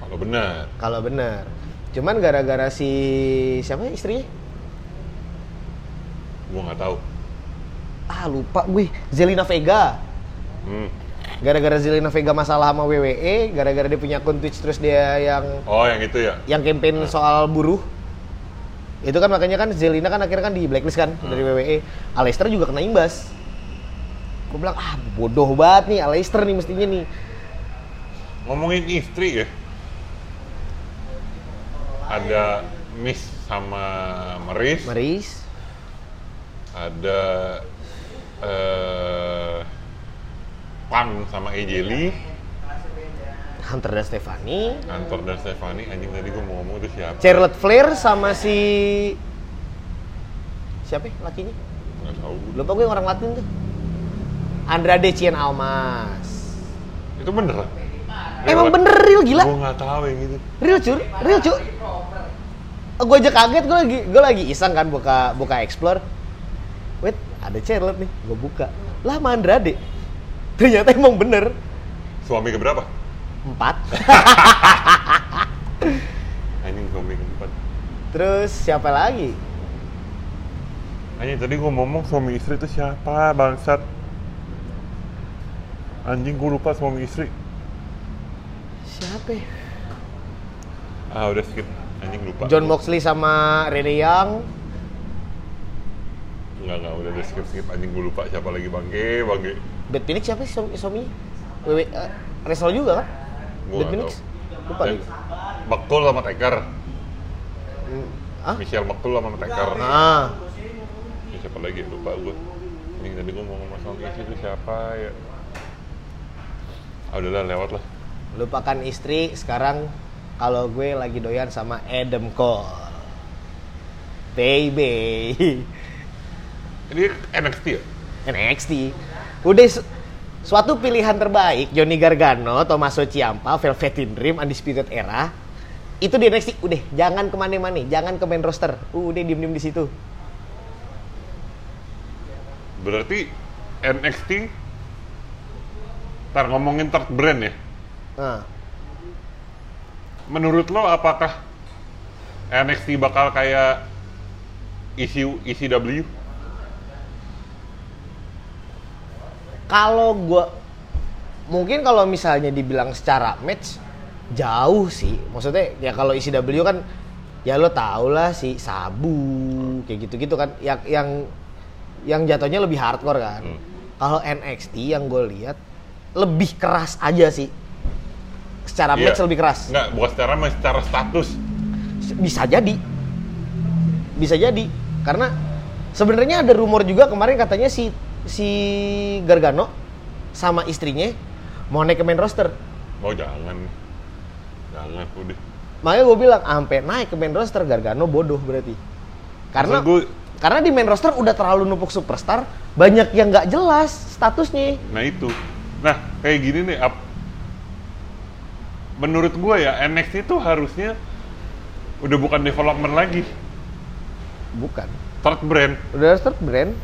Kalau benar. Kalau bener. Cuman gara-gara si siapa ya istrinya? Gua nggak tahu. Ah lupa gue. Zelina Vega. Hmm. Gara-gara Zelina Vega masalah sama WWE, gara-gara dia punya akun Twitch terus dia yang Oh, yang itu ya. yang campaign soal buruh. Itu kan makanya kan Zelina kan akhirnya kan di blacklist kan dari WWE. Aleister juga kena imbas. Gue bilang ah bodoh banget nih Aleister nih mestinya nih. Ngomongin istri ya. Ada Miss sama Maris. Maris, Ada eh Pam sama Ejeli, Hunter dan Stefani, Antor dan Stefani. Anjing tadi gua mau ngomong itu siapa? Charlotte Flair sama si siapa ya lakinya? Nggak tahu. gua. Lupa gue yang orang Latin tuh. Andrade Cien Almas. Itu beneran? Emang bener real gila. Gue nggak tahu yang gitu. Real cur, real cur. Gue aja kaget, gue lagi gue lagi iseng kan buka buka explore. Wait, ada Charlotte nih, gue buka. Lah sama Andrade. Ternyata emang bener. Suami keberapa? Empat. Anjing suami keempat. Terus siapa lagi? Anjing tadi gue ngomong suami istri itu siapa bangsat? Anjing gue lupa suami istri. Siapa? ya? Ah udah skip. Anjing lupa. John Moxley sama Rene Young. Enggak enggak udah, udah skip skip. Anjing gue lupa siapa lagi bangke bangke. Bad Phoenix siapa sih suami? suami? Wewe, eh, wrestler juga Gua kan? Bad nggak Phoenix? Lupa Dan lagi. Bekul sama Teker. Hmm, Ah? Michelle Bekul sama Teker. Ah, Ya, siapa lagi lupa gue. Anjing tadi gue mau ngomong suami istri itu siapa ya? Ah udahlah lewat lah. lupakan istri sekarang kalau gue lagi doyan sama Adam Cole baby [LAUGHS] Ini NXT ya? NXT udah su- suatu pilihan terbaik Johnny Gargano Tommaso Ciampa Velveteen Dream Undisputed Era itu di NXT udah jangan kemana-mana jangan ke main roster udah diem-diem di situ Berarti NXT Ntar ngomongin third brand ya nah, Menurut lo apakah NXT bakal kayak E ECU, ECW? kalau gue mungkin kalau misalnya dibilang secara match jauh sih maksudnya ya kalau ECW kan ya lo tau lah si Sabu kayak gitu-gitu kan yang yang yang jatuhnya lebih hardcore kan Hmm. kalau NXT yang gue lihat lebih keras aja sih secara Iya. match lebih keras Nggak, bukan secara match, secara status bisa jadi bisa jadi karena sebenarnya ada rumor juga kemarin katanya si si Gargano sama istrinya mau naik ke main roster Oh jangan Jangan udah makanya gue bilang ampe naik ke main roster Gargano bodoh berarti karena Maksud gua- karena di main roster udah terlalu numpuk superstar banyak yang nggak jelas statusnya Nah itu Nah kayak gini nih ap- Menurut gue ya NXT itu harusnya Udah bukan development lagi bukan Third brand udah roster brand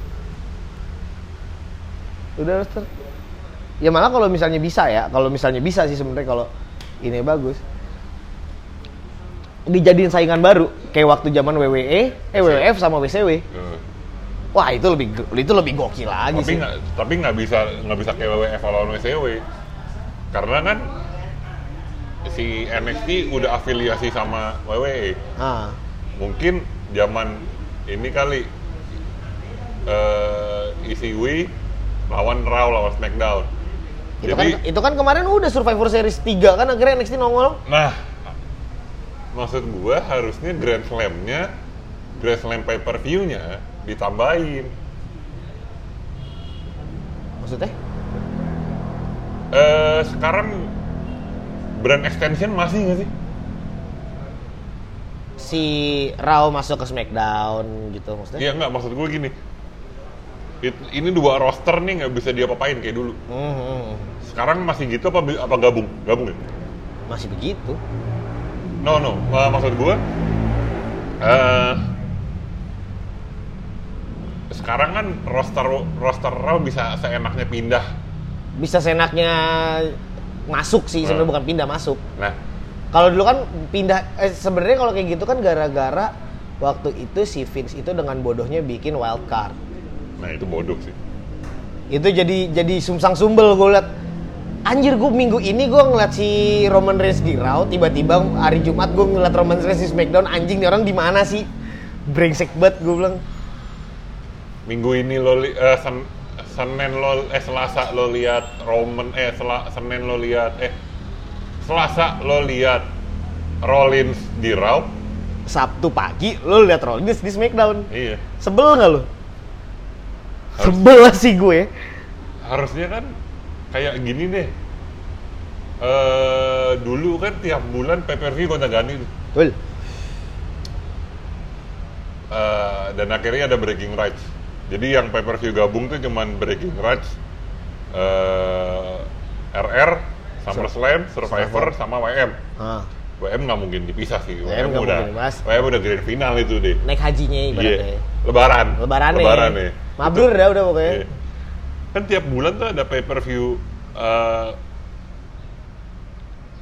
udah roster ya malah kalau misalnya bisa ya kalau misalnya bisa sih sebenarnya kalau ini bagus dijadiin saingan baru kayak waktu zaman WWE eh Iya. WWF sama WCW Eh, wah itu lebih ge- itu lebih gokil lagi tapi Iya sih nggak tapi nggak bisa nggak bisa kayak WWF lawan WCW karena kan si NXT udah afiliasi sama WWE ah mungkin zaman ini kali E eh ECW lawan Raw lawan SmackDown Itu Jadi- kan itu kan kemarin udah Survivor Series 3 kan akhirnya NXT nongol. Nah, maksud gua harusnya Grand Slam-nya, Grand Slam pay-per-view-nya ditambahin. Maksudnya? Eh, sekarang brand extension masih nggak sih? Si Raw masuk ke SmackDown gitu maksudnya. Iya nggak, maksud gua gini. It- ini dua roster nih nggak bisa diapa-apain kayak dulu. Hmm, hmm, hmm. Sekarang masih gitu apa bi- apa gabung? Gabung ya? Masih begitu. No no, Eh, maksud gua eh sekarang kan roster roster Raw bisa seenaknya pindah. Bisa senaknya masuk sih sebenarnya Hmm. bukan pindah masuk. Nah, Kalau dulu kan pindah eh, sebenarnya kalau kayak gitu kan gara-gara waktu itu si Vince itu dengan bodohnya bikin wild card. nah itu bodoh sih. itu jadi jadi sumsang sumbel gue liat anjir gue minggu ini gue ngeliat si Roman Reigns di Raw tiba-tiba hari Jumat gue ngeliat Roman Reigns di Smackdown anjing nih orang di mana sih brengsek banget gue bilang Minggu ini lo li- eh, sen- Senin lo eh Selasa lo lihat Roman eh Sela- Senin lo lihat eh Selasa lo lihat Rollins di Raw. Sabtu pagi lo liat Rollins di Smackdown Iya. sebel nggak lo sebel lah sih gue harusnya kan kayak gini deh eh dulu kan tiap bulan PPV gonta ganti tuh. Betul. Eh, dan akhirnya ada breaking rights jadi yang pay per view gabung tuh cuman breaking rights eh RR SummerSlam Survivor sama WM Ah, WM nggak mungkin dipisah sih WM WM, nggak udah mungkin dibahas. WM udah grand final itu deh naik hajinya ibaratnya ya. Iya. Lebaran lebaran nih Lebaran nih mabrur dah udah pokoknya Iya. Kan tiap bulan tuh ada pay per view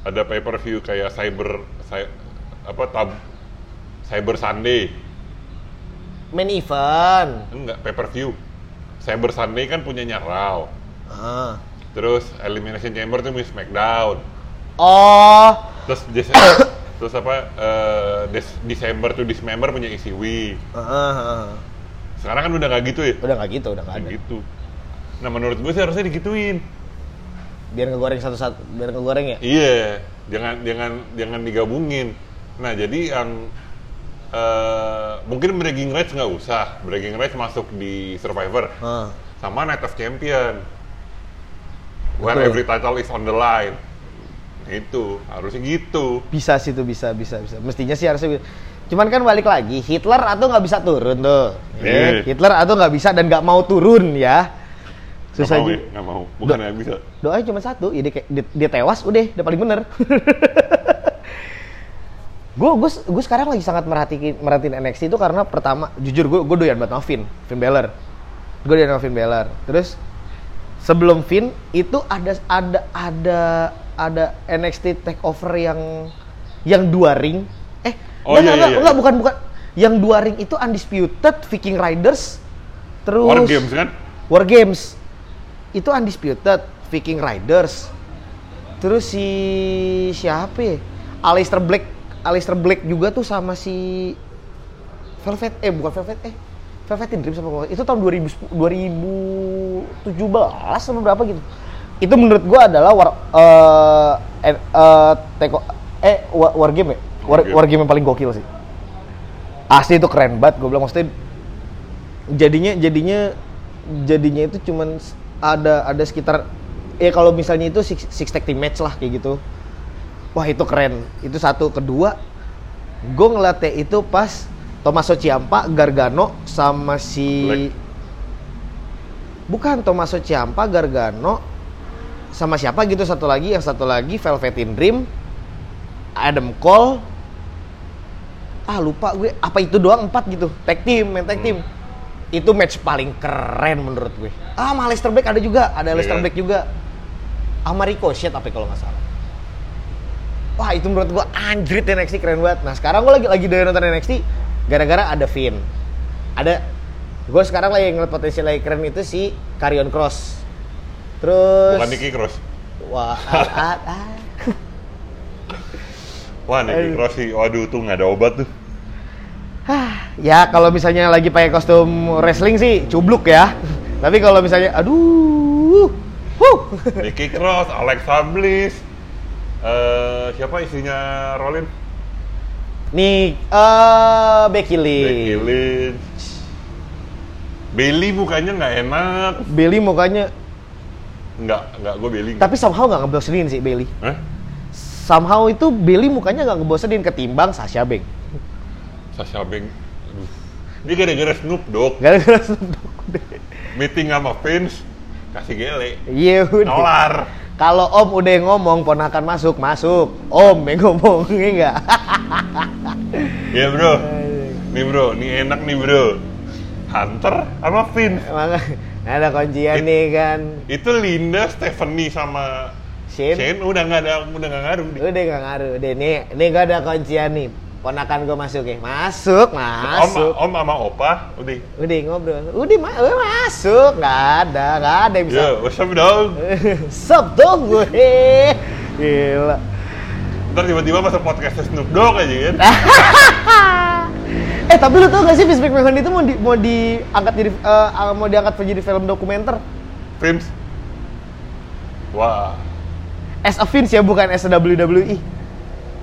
ada pay per view kayak cyber Cy- apa tab Cyber Sunday. main event Enggak pay per view. Cyber Sunday kan punyanya Raw. ah. Terus Elimination Chamber tuh punya SmackDown. oh Terus Des- [COUGHS] terus apa eh, Des- Desember tuh Dismember punya ECW. ah, ah, ah. Sekarang kan udah nggak gitu ya. udah nggak gitu udah nggak Nah, ada gitu. Nah menurut gue sih harusnya digituin. biar ngegoreng satu-satu biar ngegoreng ya Iya, jangan jangan jangan digabungin. Nah jadi yang eh, mungkin breaking rights nggak usah, breaking rights masuk di Survivor Heeh. sama Night of Champion, where Betul. every title is on the line. Itu harusnya gitu. bisa sih tuh bisa bisa bisa mestinya sih harusnya bi- cuman kan balik lagi Hitler atau nggak bisa turun tuh Ya kan? Iya. Hitler atau nggak bisa dan nggak mau turun ya nggak susah mau, ya? ju- nggak mau, bukan Udah. nggak bisa. doanya cuma satu ya dia, kayak- dia, dia tewas udah udah paling bener [LAUGHS] gue gue sekarang lagi sangat merhatiin merhatiin NXT itu karena pertama jujur gue gue doyan banget sama Finn Finn Balor gue doyan sama Finn Balor terus sebelum Finn itu ada ada ada ada NXT takeover yang yang dua ring eh Oh, iya, enggak, enggak, iya, enggak, iya. bukan bukan yang dua ring itu undisputed Viking Riders terus War games kan? War Games itu undisputed Viking Riders terus si siapa ya? Alistair Black Alistair Black juga tuh sama si Velvet eh bukan Velvet eh Velvet Dream sama gua. itu tahun 2010 2017 atau berapa gitu itu menurut gua adalah war eh eh, eh, teko- eh war, war game ya War war, game. war game yang paling gokil sih asli itu keren banget gue bilang maksudnya jadinya jadinya jadinya itu cuman s- ada ada sekitar ya kalau misalnya itu six, six tag team match lah kayak gitu wah itu keren itu satu kedua gue ngelatih itu pas Tomaso Ciampa Gargano sama si Black. bukan Tomaso Ciampa Gargano sama siapa gitu satu lagi yang satu lagi Velveteen Dream Adam Cole ah lupa gue apa itu doang empat gitu tag team main tag team Hmm. itu match paling keren menurut gue ah sama Leicester Black ada juga ada Iya Leicester kan? Black juga sama Ricochet apa ya, kalau nggak salah wah itu menurut gue anjrit NXT keren banget nah sekarang gue lagi lagi doyan nonton NXT gara-gara ada Finn ada gue sekarang lagi ngeliat potensi lagi keren itu si Karrion Cross terus Bukan Nicky Cross. wah ah, ah, ah. Wah Nicky Aduh. Cross sih, waduh tuh nggak ada obat [LAUGHS] tuh. Ya kalau misalnya lagi pakai kostum wrestling sih cubluk ya. Tapi kalau misalnya aduh Huh. Nicky Cross, Alexa Bliss, eh, siapa istrinya Rolin? Nih, eh Becky Becky Lynch. Lynch. Bailey mukanya nggak enak, Bailey mukanya, nggak nggak gue Bailey. nggak. tapi somehow nggak ngebosenin sih Bailey. Eh? Somehow itu Bailey mukanya nggak ngebosenin ketimbang Sasha Banks. [LAUGHS] Sasha Bank. Aduh. Ini gara-gara Snoop Dogg Gara-gara Snoop Dogg deh. meeting sama Vince kasih gele. Iya udah. Nolar. Kalau Om udah yang ngomong ponakan masuk, masuk. Om yang ngomong, [LAUGHS] iya nggak? Iya bro. Nih bro, nih enak nih bro. Hunter sama Vince. Maka ada kuncian nih kan. Itu Linda, Stephanie sama Shin, Shane udah nggak ada udah nggak ngaruh. deh. udah nggak ngaruh. Udah nih, nih gak ada kuncian nih. Ponakan gue masuk ya, Om, masuk, masuk. om sama opa, udah. Udah ngobrol, udah ma udah masuk, nggak ada, nggak ada yang bisa. [LAUGHS] Eh. Yo, what's up dong? Sob dong gue, gila. Ntar tiba-tiba masuk podcastnya Snoop Dogg aja kan? eh tapi lu tau gak sih Vince McMahon itu mau di, mau diangkat jadi eh, mau diangkat jadi film dokumenter Prince. Wah, as a Vince ya bukan as a WWE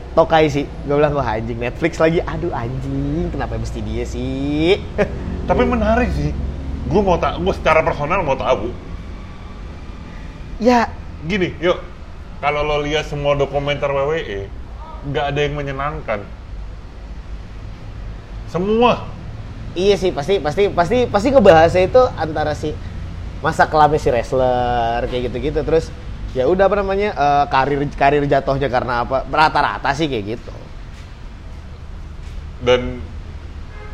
tokai sih gue bilang wah anjing Netflix lagi aduh anjing kenapa mesti dia sih [LAUGHS] tapi menarik sih. Gue mau tak, gue secara personal mau tahu. ya Gini, yuk. Kalau lo lihat semua dokumenter WWE, nggak ada yang menyenangkan. Semua. iya sih pasti pasti pasti pasti ngebahasnya itu antara si masa kelamnya si wrestler kayak gitu-gitu terus ya udah apa namanya eh, karir karir jatuhnya karena apa rata-rata sih kayak gitu dan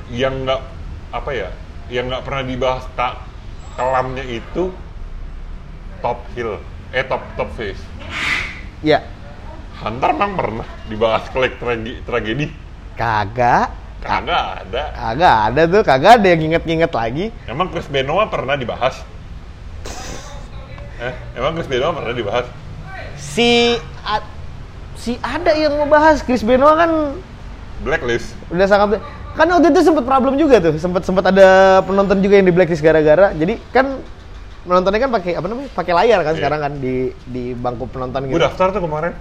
yang nggak apa ya yang nggak pernah dibahas tak kelamnya itu top heel eh top top face ya Hunter memang pernah dibahas kolek trage- tragedi kagak kagak ada kagak ada tuh kagak ada yang nginget-nginget lagi emang Chris Benoit pernah dibahas eh, emang Chris Benoit pernah dibahas si a- si ada yang ngebahas Chris Benoit kan blacklist udah sangat kan waktu itu sempet problem juga tuh sempet sempet ada penonton juga yang di blacklist gara-gara jadi kan penontonnya kan pakai apa namanya pakai layar kan Iya. sekarang kan di di bangku penonton gitu gue daftar tuh kemarin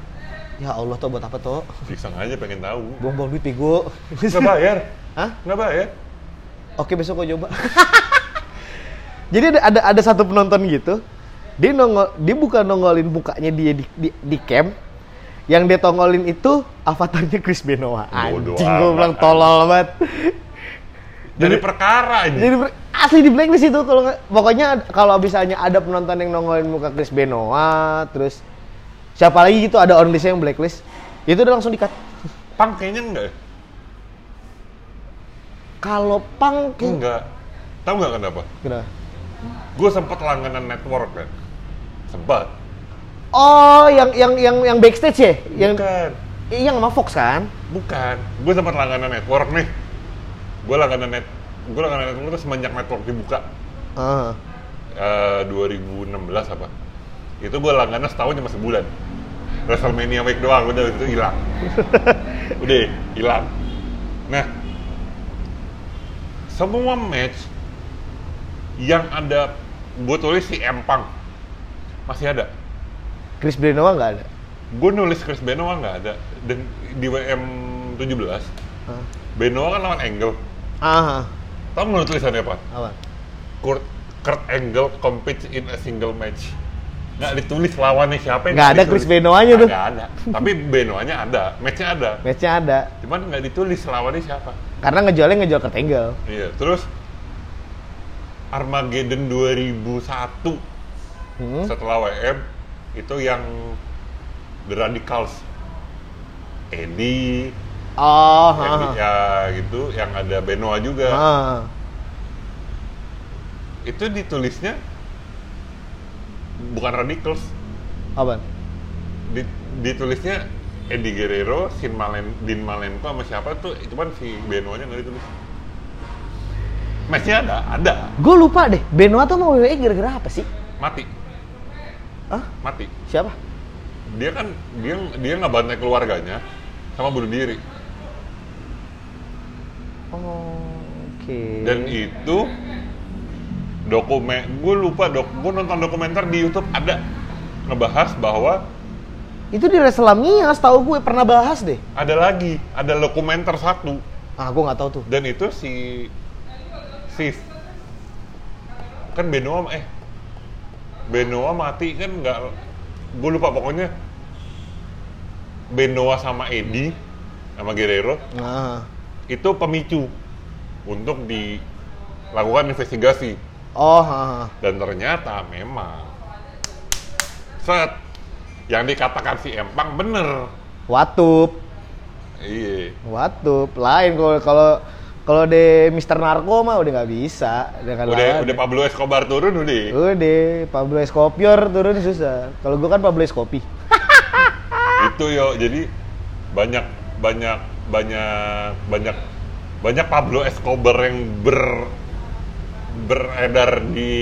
ya Allah tuh buat apa tuh iseng aja pengen tahu buang-buang duit bego nggak bayar Hah? nggak bayar Oke besok gue coba. [LAUGHS] Jadi ada, ada ada satu penonton gitu, dia nongol, dia bukan nongolin mukanya dia di di, di camp, yang dia tongolin itu avatarnya Chris Benoit. Bodoh Anjing gue amat, bilang tolol banget. jadi perkara ini Jadi ber- asli di blacklist itu kalau nggak- pokoknya ad- kalau misalnya ada penonton yang nongolin muka Chris Benoit, terus siapa lagi gitu ada onlistnya yang blacklist, itu udah langsung dikat. pang kayaknya enggak ya? Kalau gitu. pang enggak tahu nggak kenapa Hmm. Kenapa? gue sempet langganan network kan sempat Oh, yang yang yang yang backstage ya? Yang bukan Iya yang sama Fox kan? bukan gue sempet langganan network nih gue langganan net gue langganan network itu semenjak network dibuka Heeh. eh, 2016 apa itu gue langganan setahun cuma sebulan Wrestlemania week doang udah itu hilang udah hilang nah semua match yang ada gue tulis si empang masih ada Chris Benoit nggak ada. gue nulis Chris Benoit nggak ada dan di WM 17 Hah? Benoit kan lawan Angle Ah, tau menurut tulisannya apa? apa? Kurt, Kurt Angle competes in a single match nggak ditulis lawannya siapa yang Nggak ada Chris Benoit-nya tuh. nggak ada tapi Benoit-nya ada matchnya ada Matchnya ada. cuman nggak ditulis lawannya siapa Karena ngejualnya ngejual ke Tangle. iya terus Armageddon 2001 Hmm. setelah WM itu yang The Radicals Eddie Oh, Ah, yang heeh. ya gitu yang ada Benoa juga Heeh. itu ditulisnya bukan radicals Apa? Di- ditulisnya Eddie Guerrero, Sin Malen, Din Malenko sama siapa tuh cuman si Benoanya nggak ditulis matchnya ada, ada Gue lupa deh, Benoit tuh mau WWE E gara-gara apa sih? mati, Hah? mati Siapa? dia kan, dia dia nggak bantai keluarganya sama bunuh diri Oh, oke. dan itu dokumen gue lupa dok gue nonton dokumenter di YouTube ada ngebahas bahwa Itu di Reslamia, setahu gue pernah bahas deh. ada lagi ada dokumenter satu Ah, gue nggak tahu tuh. dan itu si si kan Benoa eh Benoa mati kan nggak gue lupa pokoknya Benoa sama Edi sama Guerrero Nah. itu pemicu untuk dilakukan investigasi Oh, ah, ah. dan ternyata memang set yang dikatakan si Empang bener Watup, iya Watup. Lain kalau kalau kalau de Mister Narko mah udah nggak bisa dengan udah lawan. udah Pablo Escobar turun udah Udah, Pablo Escobar turun susah. Kalau gue kan Pablo Escopi. itu yo jadi banyak banyak banyak banyak banyak Pablo Escobar yang ber beredar di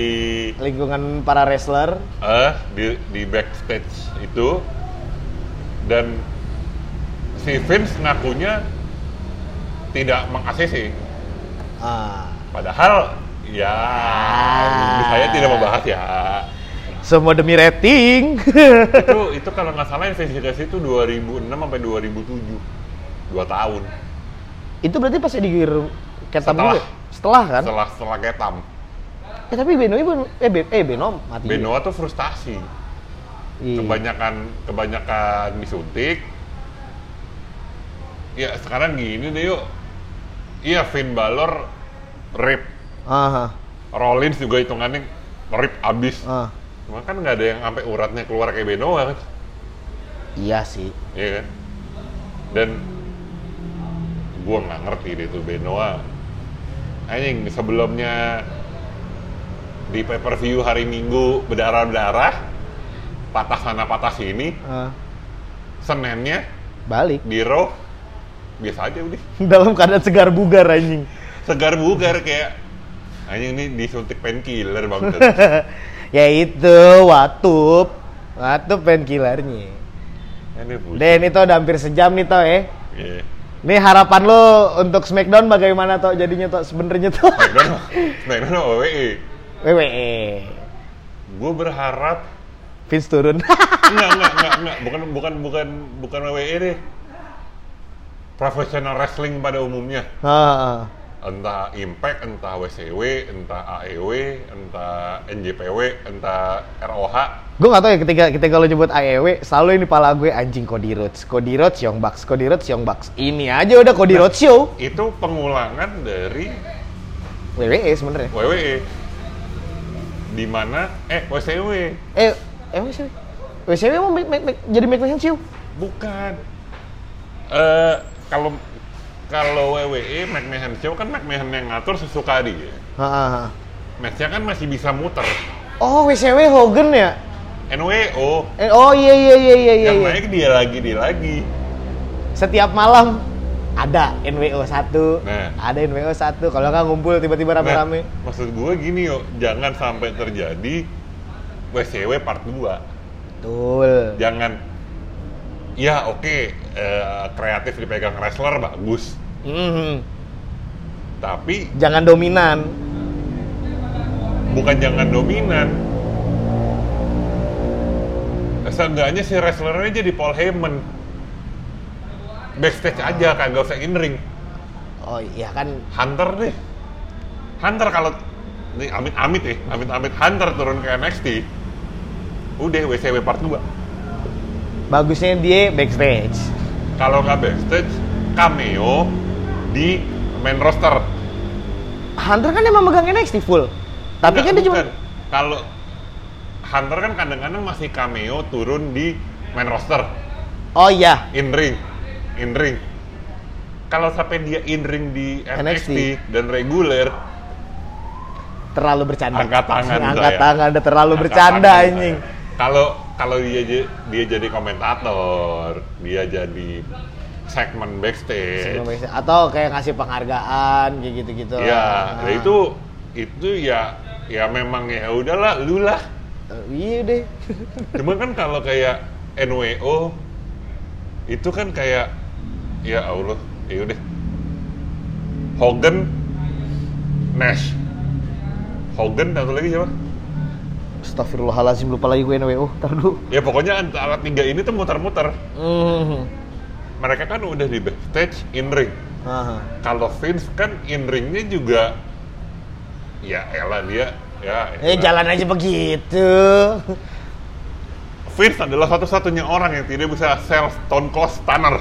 Lingkungan para wrestler. eh di di backstage itu dan si Vince ngakunya tidak meng-ACC Ah. padahal ya saya tidak membahas ya Semua demi rating. [LAUGHS] itu itu kalau nggak salah investigasi itu 2006 sampai 2007 dua tahun Itu berarti pas digir ketam Setelah. dulu. ya? Setelah kan? setelah setelah ketam Eh tapi Benoy bukan eh, ben, eh Benom mati. Benoa tuh frustasi Iya. kebanyakan kebanyakan disuntik ya sekarang gini deh yuk iya Finn Balor rip Aha. Rollins juga hitungannya rip abis Ah. cuma kan nggak ada yang sampai uratnya keluar kayak Benoa kan Iya sih. iya kan dan gua nggak ngerti deh tuh Benoa anjing sebelumnya di pay per view hari Minggu berdarah berdarah patah sana patah sini Ah. Senennya Balik [LAUGHS] di Raw biasa aja udah dalam keadaan segar bugar anjing. segar bugar kayak anjing ini disuntik painkiller bang ya itu Watup. Watup painkillernya. ini bullshit. Den itu udah hampir sejam nih toh eh. Iya. Nih harapan lo untuk Smackdown bagaimana toh jadinya toh sebenarnya toh. [LAUGHS] Smackdown Smackdown sama WWE WWE. gue berharap Vince turun. [LAUGHS] enggak enggak enggak enggak bukan bukan bukan bukan WWE deh professional wrestling pada umumnya Ah, entah Impact, entah WCW, entah AEW, entah NJPW, entah ROH, gue gak tau ya ketika ketika lo nyebut AEW selalu ini pala gue anjing Cody Rhodes, Cody Rhodes, Young Bucks, Cody Rhodes, Young Bucks. Ini aja udah Cody Rhodes show. itu pengulangan dari WWE sebenarnya. WWE E. di mana eh WCW Eh, eh WCW. WCW mau make, make, make- jadi make show. bukan eh kalau kalau WWE McMahon Show kan McMahon yang ngatur sesuka dia Ha, ha, ha. matchnya kan masih bisa muter Oh, WCW Hogan ya? NWO Eh, oh iya iya iya iya iya. yang iya. naik dia lagi dia lagi Setiap malam ada NWO 1, Nah. ada NWO 1. Kalau nggak ngumpul tiba-tiba Nah, rame-rame. maksud gue gini yo jangan sampai terjadi WCW part 2 Betul. jangan ya oke eh, kreatif dipegang wrestler bagus Mhm. tapi Jangan dominan. bukan jangan dominan seenggaknya si wrestlernya jadi Paul Heyman backstage aja kagak usah in ring Oh iya kan Hunter deh Hunter kalau nih amit amit ya amit amit Hunter turun ke NXT udah WCW part 2 bagusnya dia backstage. kalau nggak backstage cameo di main roster Hunter kan emang megang NXT full. Tapi Nggak, kan dia cuma bukan. kalau Hunter kan kadang-kadang masih cameo turun di main roster Oh iya, in ring in ring kalau sampai dia in ring di NXT, NXT. dan reguler terlalu bercanda. Angkat tangan Angkat saya. tangan udah terlalu angkat bercanda tangan. ya. anjing. kalau kalau dia je- dia jadi komentator dia jadi segmen backstage Atau kayak ngasih penghargaan kayak gitu-gitu. ya Ah. ya itu itu ya ya memang ya udahlah lu lah Eh, Iya deh. cuma kan kalau kayak NWO itu kan kayak ya Allah ya udah Hogan Nash Hogan atau lagi siapa? Astagfirullahalazim lupa lagi gue NWO. Entar dulu. Ya pokoknya antara tiga ini tuh muter-muter. Hmm. Mereka kan udah di backstage in ring. Aha. Kalau Vince kan in ringnya juga ya elah dia ya Eh elah. jalan aja begitu. Vince adalah satu-satunya orang yang tidak bisa sell Stone Cold Stunner.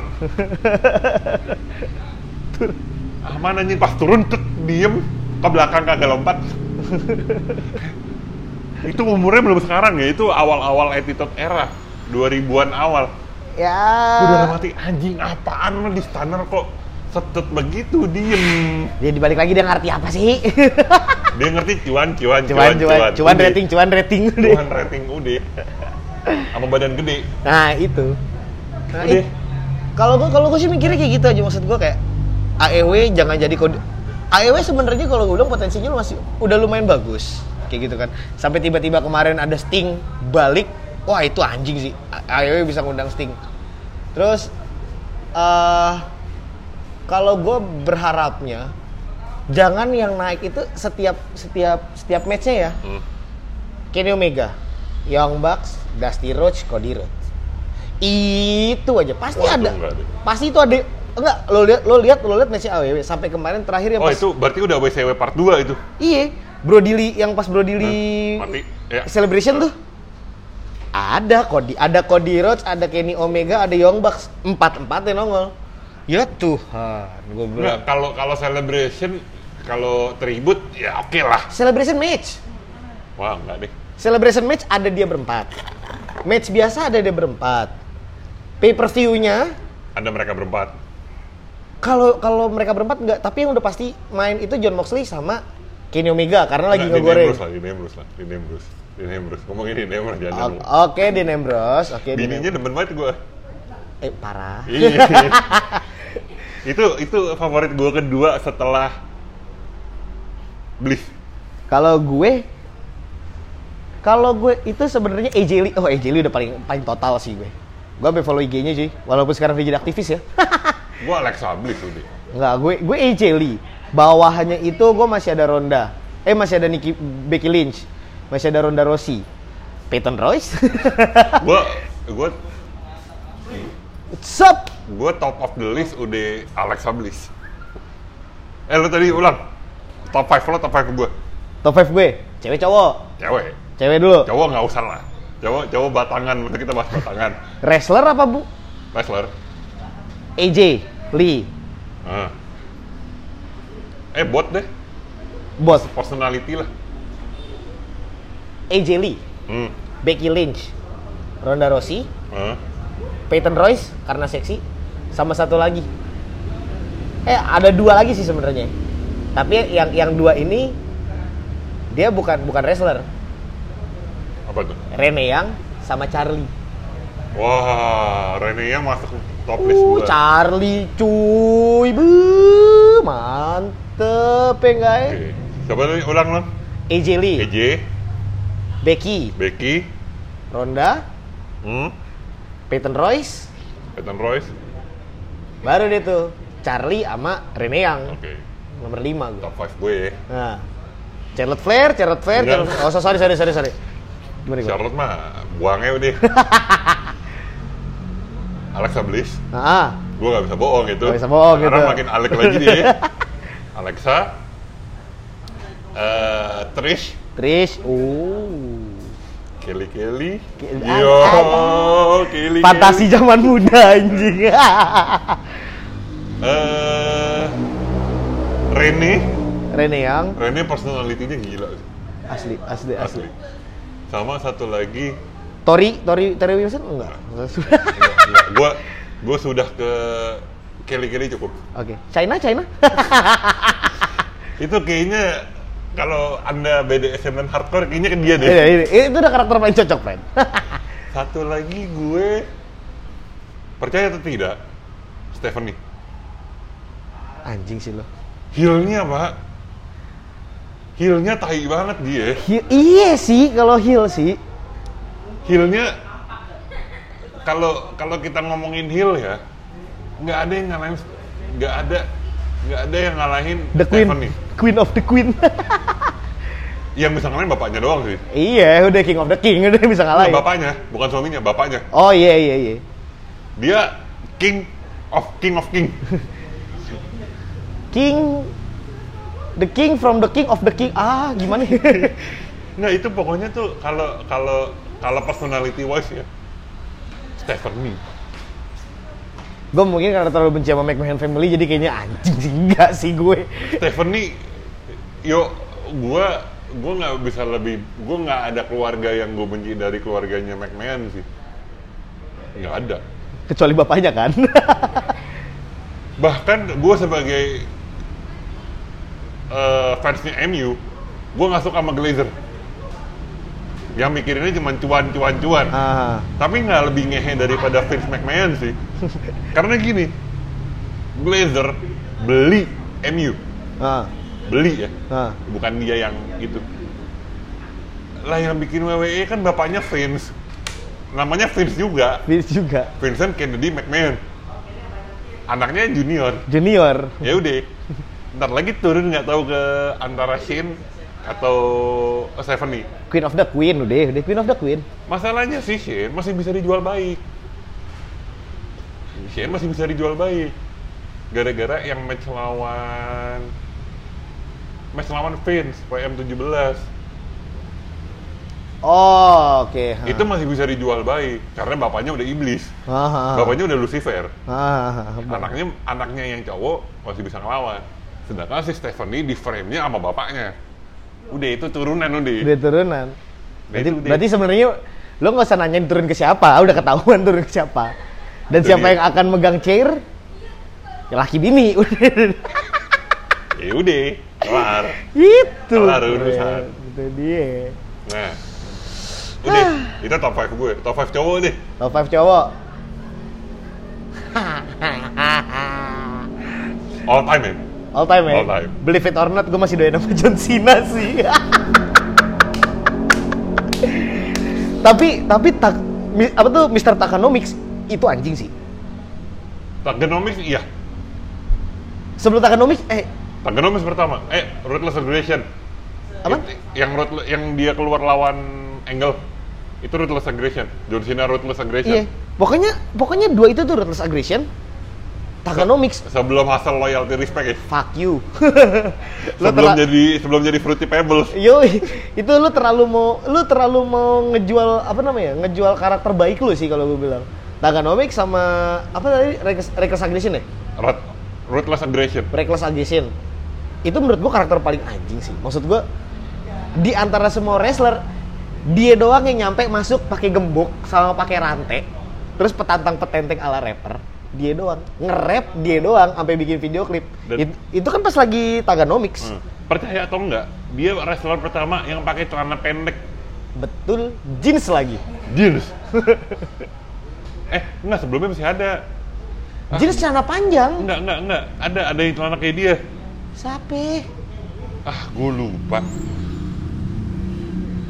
Aman Ah, anjing pas turun cek diem ke belakang kagak lompat. itu umurnya belum sekarang ya, itu awal-awal attitude era 2000-an awal. Ya. Udah lama mati anjing apaan lo di stunner kok setet begitu diem. Dia dibalik lagi dia ngerti apa [LAUGHS] sih? Dia ngerti cuan cuan cuman cuman cuman Udah. rating, cuman rating udah. Cuan rating udah. Sama badan gede. Nah, itu. Nah, Udah. it- Kalau gua kalau gua sih mikirnya kayak gitu aja maksud gua kayak AEW jangan jadi kode AEW sebenarnya kalau gua bilang potensinya masih udah lumayan bagus kayak gitu kan. Sampai tiba-tiba kemarin ada Sting balik, wah itu anjing sih. A- AEW bisa ngundang Sting. Terus eh kalau gua berharapnya jangan yang naik itu setiap setiap setiap matchnya ya Hmm. Kenny Omega, Young Bucks, Dusty Rhodes, Cody Rhodes. Itu aja. Pasti Waduh, ada. nggak ada. Pasti itu ada. Enggak, lo lihat lo lihat lo lihat matchnya AWW sampai kemarin terakhir yang Oh pas itu berarti udah WCW part 2 itu. Iya, Brodili yang pas Brodili Hmm, mati. Ya. celebration tuh. Ada Cody, ada Cody Rhodes, ada Kenny Omega, ada Young Bucks. Empat-empatnya nongol. Ya Tuhan, gue Nggak, bilang. kalau kalau celebration, kalau tribut ya oke lah. Celebration match. Wah, enggak deh. Celebration match ada dia berempat. Match biasa ada dia berempat. Pay per view-nya Ada mereka berempat. kalau kalau mereka berempat nggak, tapi yang udah pasti main itu John Moxley sama Kenny Omega karena lagi Nggak, ngegoreng. Bruce lah, Nah, Dean Ambrose lah. Dean Ambrose. Dean Ambrose. Ngomongin Dean Ambrose jangan O- ngomong. Oke, Dean Ambrose. Oke, Dean Bininya demen banget [LAUGHS] gue. Am- Eh, parah. Iya. itu itu favorit gue kedua setelah Bliss. Kalau gue kalau gue itu sebenarnya AJ Lee. Oh, AJ Lee udah paling paling total sih gue. Gue sampai follow IG-nya cuy, walaupun sekarang dia jadi aktivis ya. Gue Alexa Bliss udah. Enggak, gue gue AJ Lee. Bawahannya itu gue masih ada Ronda. Eh masih ada Nikki Becky Lynch. Masih ada Ronda Rousey. Peyton Royce. [LAUGHS] Gue gue What's up? gue top of the list udah Alexa Bliss. Eh lu tadi ulang top 5 lo top 5 gue. Top 5 gue. Cewek cowok. Cewek. Cewek dulu. Cowok nggak usah lah. Cowok cowok batangan, masa kita bahas batangan. Wrestler apa, Bu? Wrestler. AJ Lee. Ah. Eh bot deh, Bos. personality lah. AJ Lee, Hmm. Becky Lynch, Ronda Rousey, Ah. Peyton Royce karena seksi sama satu lagi. Eh, ada dua lagi sih sebenarnya. Tapi yang yang dua ini dia bukan bukan wrestler. Apa tuh? Rene Yang sama Charlie. Wah, Rene yang masuk top list Uh, gue. Charlie cuy, bu, mantep ya guys. Coba tadi ulang lo. AJ Lee, EJ, Becky, Becky, Ronda, hmm, Peyton Royce, Peyton Royce. baru dia tuh Charlie sama Rene Yang Oke, nomor 5 gue. top 5 gue ya. Nah, Charlotte Flair, Charlotte Flair, Enggak. Charlotte... oh sorry sorry sorry sorry. Gimana gue? Charlotte mah buangnya udah. Alexa Bliss, Nah, gue gak bisa bohong itu. Nggak bisa bohong gitu. Sekarang makin Alex lagi [LAUGHS] dia. Alexa, eh Trish, Trish, oh, Kelly Kelly, Kelly- yo Ah, Kelly fantasi Kelly. zaman muda anjing. [LAUGHS] Eh, Rene, Rene Yang, Rene personalitinya gila sih, asli asli asli. asli. Sama satu lagi, Tori, Tori, Tori Wilson enggak? [LAUGHS] gue gue sudah ke Kelly Kelly cukup. Oke, China, China. [LAUGHS] Itu kayaknya kalau anda BDSM dan hardcore kayaknya ke dia deh. Ini, ini, Iya, itu udah karakter paling cocok, [LAUGHS] friend. Satu lagi gue percaya atau tidak, Stephanie. Anjing sih lo. Heelnya pak, heelnya tai banget dia. Hi- iya sih, kalau heel sih. Heelnya kalau kalau kita ngomongin heel ya, nggak ada yang ngalahin, nggak ada nggak ada yang ngalahin The Queen, [LAUGHS] Stephanie. Queen of the Queen. yang bisa ngalahin bapaknya doang sih Iya, udah king of the king, [LAUGHS] udah bisa Nah, ngalahin. bapaknya bukan suaminya bapaknya Oh iya iya iya. dia king of king of [LAUGHS] king King the king from the king of the king. Ah, gimana? [LAUGHS] nah itu pokoknya tuh kalau kalau kalau personality wise ya Stephanie gue mungkin karena terlalu benci sama McMahon family jadi kayaknya anjing sih enggak sih gue. [LAUGHS] Stephanie yo gua gua nggak bisa lebih gua nggak ada keluarga yang gue benci dari keluarganya McMahon sih nggak ada Kecuali bapaknya kan. [LAUGHS] bahkan gue sebagai eh, fansnya MU gue nggak suka sama Glazer yang mikirinnya cuma cuan cuan cuan ah, tapi nggak lebih ngehe daripada Vince McMahon sih karena gini Glazer beli MU ah, beli ya ah. bukan dia yang itu lah yang bikin WWE kan bapaknya Vince namanya Vince juga Vince juga Vincent Kennedy McMahon anaknya junior junior. ya udah ntar lagi turun nggak tahu ke antara Shane atau Stephanie Queen of the Queen udah, udah Queen of the Queen. masalahnya si Shane masih bisa dijual baik Shane masih bisa dijual baik gara-gara yang match lawan match lawan Vince PM17 Oh, oke. ha. itu masih bisa dijual baik karena bapaknya udah iblis Ah, ah, ah. bapaknya udah Lucifer Ah, ah, ah. anaknya anaknya yang cowok masih bisa ngelawan sedangkan si Stephanie di frame-nya sama bapaknya udah itu turunan udah Udah turunan. Berarti, udah. berarti sebenarnya lo nggak usah nanyain turun ke siapa, udah ketahuan turun ke siapa. Dan Itu siapa dia. yang akan megang chair? Ya laki bini. [LAUGHS] ya udah kelar itu. Kelar Bre. urusan. Itu dia. nah udah Ah. itu top 5 gue top 5 cowok deh Top 5 cowok. all time man All time ya? All time. Believe it or not, gue masih doain sama John Cena sih. [LAUGHS] tapi, tapi tak, mi- apa tuh Mr. Takanomics itu anjing sih. Tagenomics iya Sebelum Takanomics, eh, Tagenomics pertama eh Ruthless Aggression apa? It- yang Ruth- yang dia keluar lawan Angle itu Ruthless Aggression John Cena Ruthless Aggression Iya. Pokoknya, pokoknya dua itu tuh Ruthless Aggression, Takanomics, sebelum hasil loyalty respect ya fuck you. [LAUGHS] Lo sebelum terla- jadi sebelum jadi fruity pebbles Yo, [LAUGHS] itu lu terlalu mau lu terlalu mau ngejual apa namanya? Ngejual karakter baik lu sih kalau gue bilang. Takanomics sama apa tadi Reckless, Reckless Aggression ya? Rut- ruthless aggression Reckless Aggression. Itu menurut gue karakter paling anjing sih. Maksud gue di antara semua wrestler dia doang yang nyampe masuk pakai gembok sama pakai rantai. Terus petantang petenteng ala rapper. Dia doang. Nge-rap dia doang sampai bikin video klip. Dan- It- itu kan pas lagi Taganomics. Hmm. percaya atau enggak dia wrestler pertama yang pakai celana pendek Betul jeans lagi. jeans eh enggak sebelumnya masih ada Ah. Jeans celana panjang. enggak enggak enggak ada ada yang celana kayak dia Sape? ah gue lupa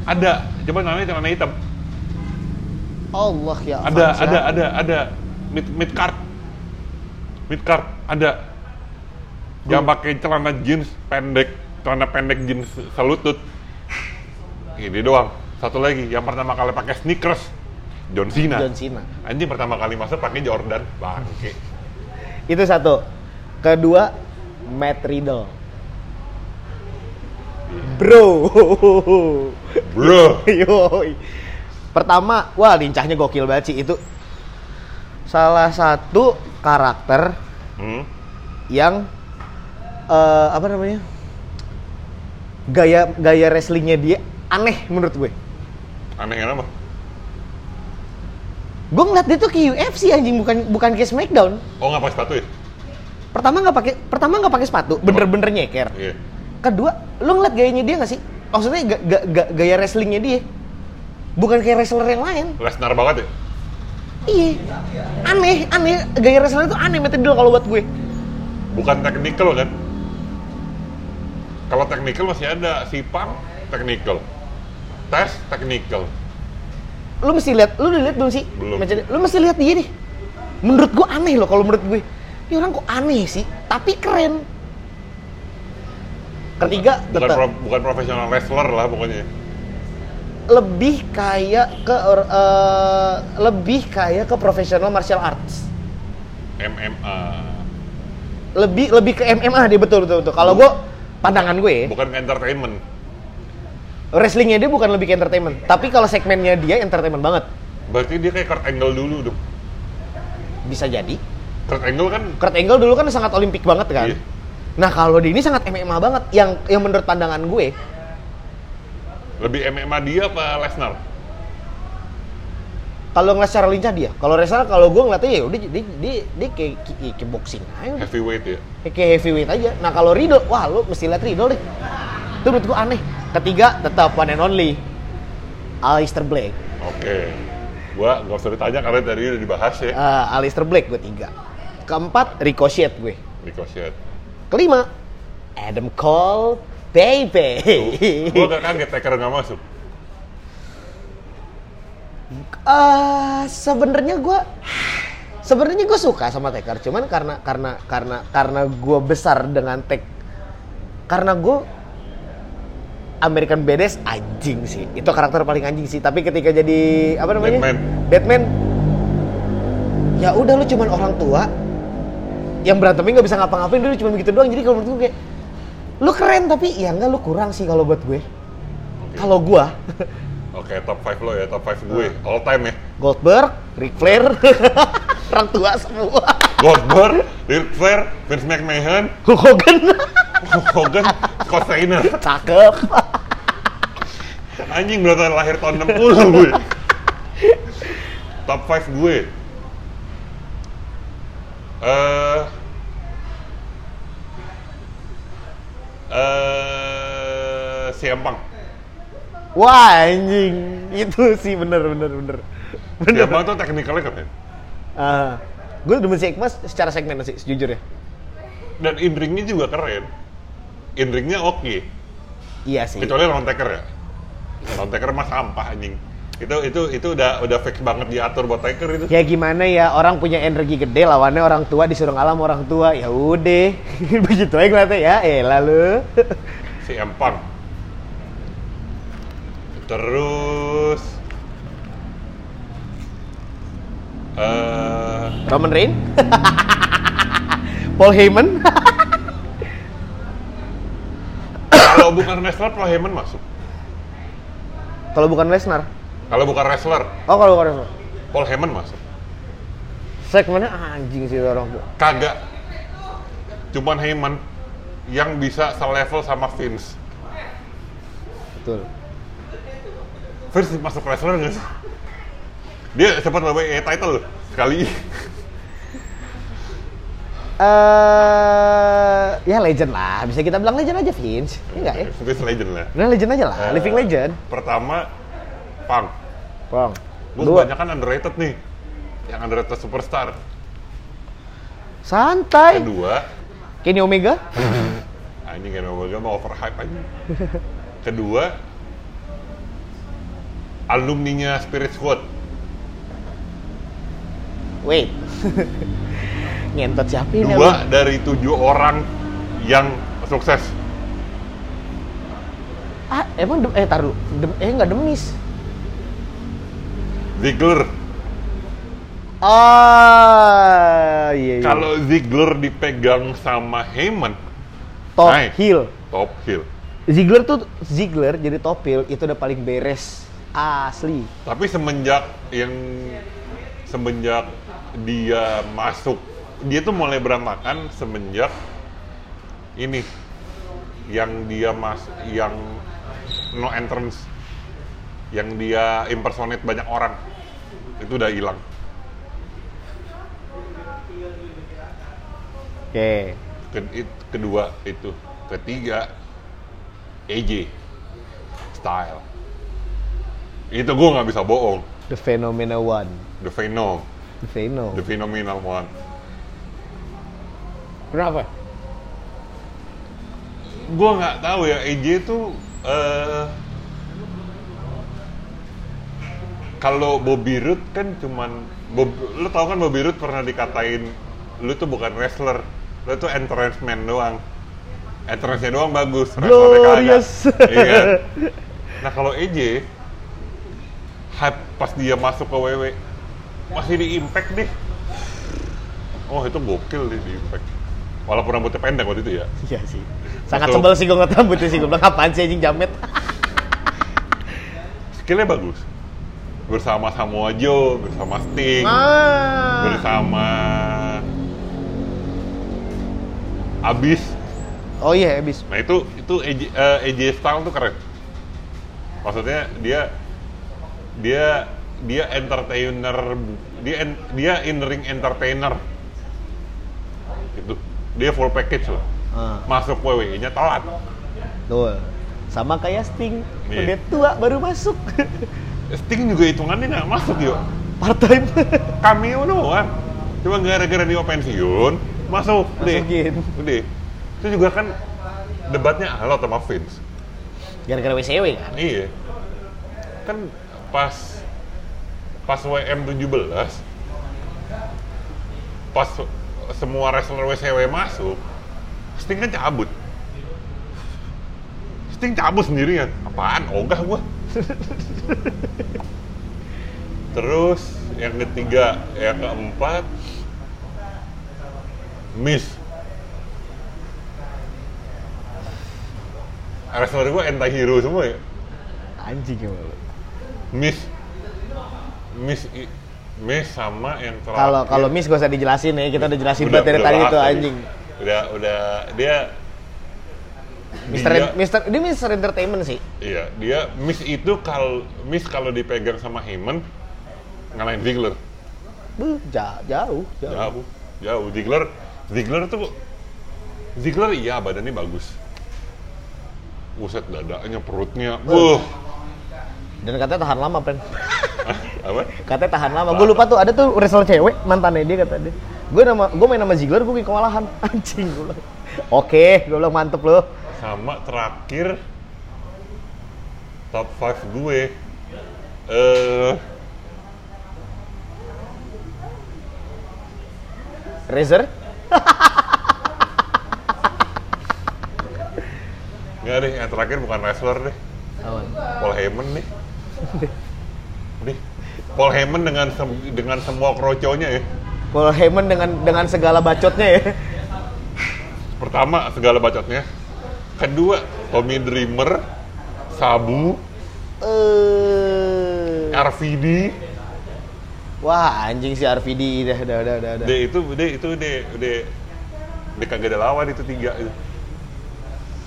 ada coba namanya celana hitam Allah ya. ada Fans, ya. ada ada ada mid mid card mid card ada yang pakai celana jeans pendek celana pendek jeans selutut ini doang satu lagi yang pertama kali pakai sneakers John Cena John Cena. anjing pertama kali masuk pakai Jordan bangke Itu satu. Kedua, Matt Riddle. Bro. [LAUGHS] bro Yoi. Pertama, wah lincahnya gokil banget sih itu. Salah satu karakter hmm? yang eh, apa namanya? Gaya gaya wrestlingnya dia aneh menurut gue. aneh kenapa Gue ngeliat dia tuh ke UFC anjing bukan bukan ke SmackDown. oh nggak pakai sepatu ya Pertama nggak pakai pertama nggak pakai sepatu, bener-bener nyeker. iya Kedua, lu ngeliat gayanya dia nggak sih? Maksudnya ga- ga- ga- gaya wrestlingnya dia, bukan kayak wrestler yang lain. Lesnar banget ya Iya, aneh, aneh. Gaya wrestler itu aneh Matt Riddle kalau buat gue. bukan technical kan kalau technical masih ada si Pang technical tes technical Lu mesti lihat, lu udah lihat belum sih? Belum. Matt Riddle? lu mesti lihat dia deh. Menurut gue aneh loh kalau menurut gue. Ini orang kok aneh sih, tapi keren. Ketiga bukan tetap pro- bukan profesional wrestler lah pokoknya. lebih kayak ke or- eh, lebih kayak ke profesional martial arts. MMA. Lebih lebih ke MMA dia betul betul betul. Hmm. Kalau gue pandangan gue ya, Bukan ke entertainment. wrestlingnya dia bukan lebih ke entertainment, tapi kalau segmennya dia entertainment banget. Berarti dia kayak Kurt Angle dulu dong. Bisa jadi. Kurt Angle kan Kurt Angle dulu kan sangat olimpik banget kan. Iya. Nah kalau di ini sangat MMA banget. Yang yang menurut pandangan gue lebih MMA dia apa Lesnar? kalau ngeliat secara lincah dia. Kalau wrestler kalau gue ngeliatnya ya udah dia, dia, dia, dia kayak, kayak, kayak boxing aja. [LAUGHS] udah. Heavyweight ya. Kayak- Kayak heavyweight aja. Nah kalau Riddle, wah lu mesti liat Riddle deh. Itu menurut gue aneh. Ketiga tetap one and only Alistair Black. Oke. Gua gak usah ditanya karena tadi udah dibahas ya. Eh, Alistair Black gue tiga. Keempat Ricochet gue. Ricochet. Kelima Adam Cole Baby. Gua gak kaget Taker gak masuk. Eh, sebenarnya gue sebenarnya gue suka sama Taker cuman karena karena karena karena gue besar dengan Tek karena gue American Badass anjing sih itu karakter paling anjing sih tapi ketika jadi apa namanya Batman. Batman ya udah lu cuman orang tua yang berantemnya nggak bisa ngapa-ngapain dulu cuma begitu doang jadi kalau menurut gue kayak lu keren tapi ya enggak lu kurang sih kalau buat gue Oke. kalau gua Oke, top 5 lo ya, top 5 gue. All time ya. Goldberg, Ric Flair, [LAUGHS] orang tua semua. Goldberg, Ric Flair, Vince McMahon, [LAUGHS] Hulk Hogan, Hogan, Scott Steiner. cakep. Anjing berarti lahir tahun 60 gue. Top 5 gue. Eh eh si Empang. Wah anjing, itu sih bener bener bener. Si Bener. Empang tuh teknikalnya keren. Ah, gue demen si Ekmas secara segmen sih, ya. sejujurnya. Dan in-ringnya juga keren. In-ringnya oke. Iya sih. Kecuali lawan taker ya. Lawan taker mah sampah anjing. Itu itu itu udah udah fix banget diatur buat taker itu. Ya gimana ya orang punya energi gede lawannya orang tua disuruh ngalah sama orang tua ya udah [LAUGHS] begitu aja ngeliatnya ya eh lalu si Empang terus eh [LAUGHS] Roman Reign [LAUGHS] Paul Heyman [LAUGHS] kalau bukan wrestler Paul Heyman masuk kalau bukan Lesnar kalau bukan wrestler oh kalau bukan Lesnar Paul Heyman masuk segmennya anjing sih itu orang tua kagak cuman Heyman yang bisa selevel sama Vince betul Vince masuk wrestler nggak sih dia sempat bawa eh, title loh, sekali eh ya legend lah, bisa kita bilang legend aja Vince. Ini enggak ya? [LAUGHS] Vince legend lah Nah, legend aja lah, Eh, living legend. pertama Punk Bang. gue Dua. kebanyakan underrated nih yang underrated superstar Santai. kedua Kenny Omega? anjing kan Omega mah overhype anjing kedua alumninya Spirit Squad Wait. [LAUGHS] Ngentot siapa ini? dua dari tujuh orang yang sukses Ah, emang dem- eh tar dulu. Dem- eh enggak demis. Ziggler Ah, iya iya. kalau Ziggler dipegang sama Heyman top naik. heel. top heel Ziggler tuh Ziggler jadi top heel itu udah paling beres. Asli. tapi semenjak yang semenjak dia masuk dia tuh mulai berantakan semenjak ini yang dia mas yang no entrance yang dia impersonate banyak orang itu udah hilang Oke. Ke- it- kedua itu ketiga AJ style itu gue nggak bisa bohong The Phenomena One. the phenom The Pheno. the phenomenal one Kenapa? gue nggak tahu ya EJ itu eh, kalau Bobby Roode kan cuman Bob, lu tau kan Bobby Roode pernah dikatain lu tuh bukan wrestler lu tuh entrance man doang Entrance-nya doang bagus, wrestle-nya kagak. Glorious. Iya kan? Nah kalau EJ, hype pas dia masuk ke WW, masih di impact deh. Oh itu gokil deh di impact. Walaupun rambutnya pendek waktu itu ya. Iya sih. Sangat Betul. sebel sih gue ngeliat rambutnya sih. Gue bilang, apaan sih anjing jamet? Skillnya bagus. Bersama Samoa Joe, bersama Sting, ah. bersama... Abis. Oh iya, habis. Nah itu itu AJ, eh, AJ Styles tuh keren. Maksudnya dia dia dia entertainer dia en- dia in ring entertainer gitu dia full package loh Ah, masuk WWE nya telat betul. Sama kayak Sting. Iya. Udah tua baru masuk. [LAUGHS] Sting juga hitungannya nggak masuk yuk Part time. cameo doang cuma gara-gara dia pensiun masuk deh Masukin. deh itu juga kan debatnya lo sama Vince Gara-gara WCW kan? Iya. Kan pas pas WM 17 pas semua wrestler WCW masuk, Sting kan cabut. Sting cabut sendirian. Apaan? Ogah gua. [LAUGHS] Terus yang ketiga, yang keempat Miss. Wrestler gua anti-hero semua ya. Anjing ya lu. Miss Miss I- Miss sama yang terakhir. Kalau kalau miss gak usah dijelasin ya, kita udah jelasin iya. Udah- banget dari udah tadi bahas itu tadi. anjing. Udah udah dia Mister dia, Mister dia Mister Entertainment sih. Iya, dia Miss itu kalau Miss kalau dipegang sama Heyman ngalahin Ziggler. Beuh, ja- jauh, jauh. Jauh, jauh Ziggler. Ziggler tuh Ziggler iya badannya bagus. Buset dadanya, perutnya. uh, Wuh. Dan katanya tahan lama, Pren. Apa? Katanya tahan lama. Gue lupa tuh ada tuh wrestler cewek mantannya dia kata dia. Gue nama gue main nama Ziggler gue bikin kewalahan. [LAUGHS] Anjing gue bilang. Oke, gue bilang mantep loh. Sama terakhir top 5 gue. Eh Razor? Enggak deh, yang terakhir bukan wrestler deh. Paul Heyman nih. deh. Paul Heyman dengan sem- dengan semua kroconya ya. Paul Heyman dengan dengan segala bacotnya ya. Pertama, segala bacotnya. Kedua, Tommy Dreamer, Sabu, Eh, RVD. wah anjing si RVD dah dah dah dah. dah. Deh itu, deh itu, deh, deh, deh kagak ada lawan itu tiga. itu.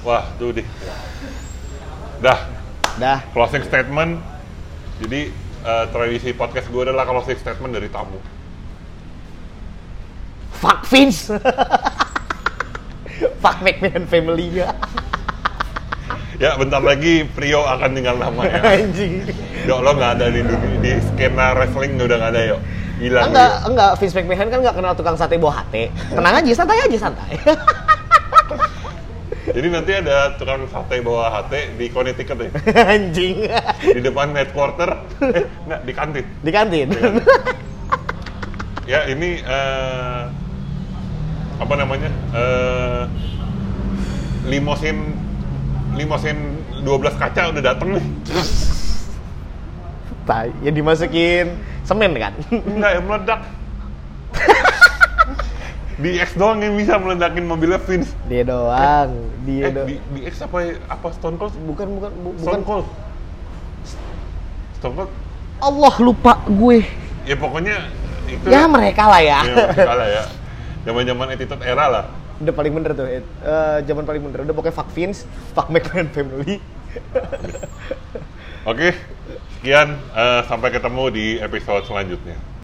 Wah, tuh deh. Dah, Dah. closing statement. Jadi eh, tradisi podcast gue adalah closing statement dari tamu. Fuck Vince. [LAUGHS] Fuck McMahon family ya. Ya, bentar lagi Prio akan tinggal nama ya. [LAUGHS] anjing. Dok, lo nggak ada di dunia, di skena wrestling udah nggak ada yuk. Hilang Enggak, yuk. enggak Vince McMahon kan enggak kenal tukang sate buah hati. Tenang aja, santai aja, santai. [LAUGHS] Jadi nanti ada tukang sate bawah hati di Connecticut ya. anjing. Di depan headquarter, eh, nggak, di kantin. Di kantin. Ya, ini, eh, apa namanya, eh, limosin, limosin 12 kaca udah dateng nih. Tai, ya dimasukin semen kan. Enggak, yang meledak. di X doang yang bisa meledakin mobilnya Vince. [LAUGHS] Dia doang, Eh, dia doang. di, di X apa, apa Stone Cold? Ya Bukan bukan bu- bukan. Stone Cold. Stone Cold. Allah lupa gue. Ya pokoknya itu. Ya mereka lah ya. Ya, masih kalah ya. Zaman-zaman attitude era lah. Udah paling bener tuh. eh, eh, zaman paling bener. Udah pokoknya fuck Vince, fuck [LAUGHS] McMahon family. Oke, sekian. eh, sampai ketemu di episode selanjutnya.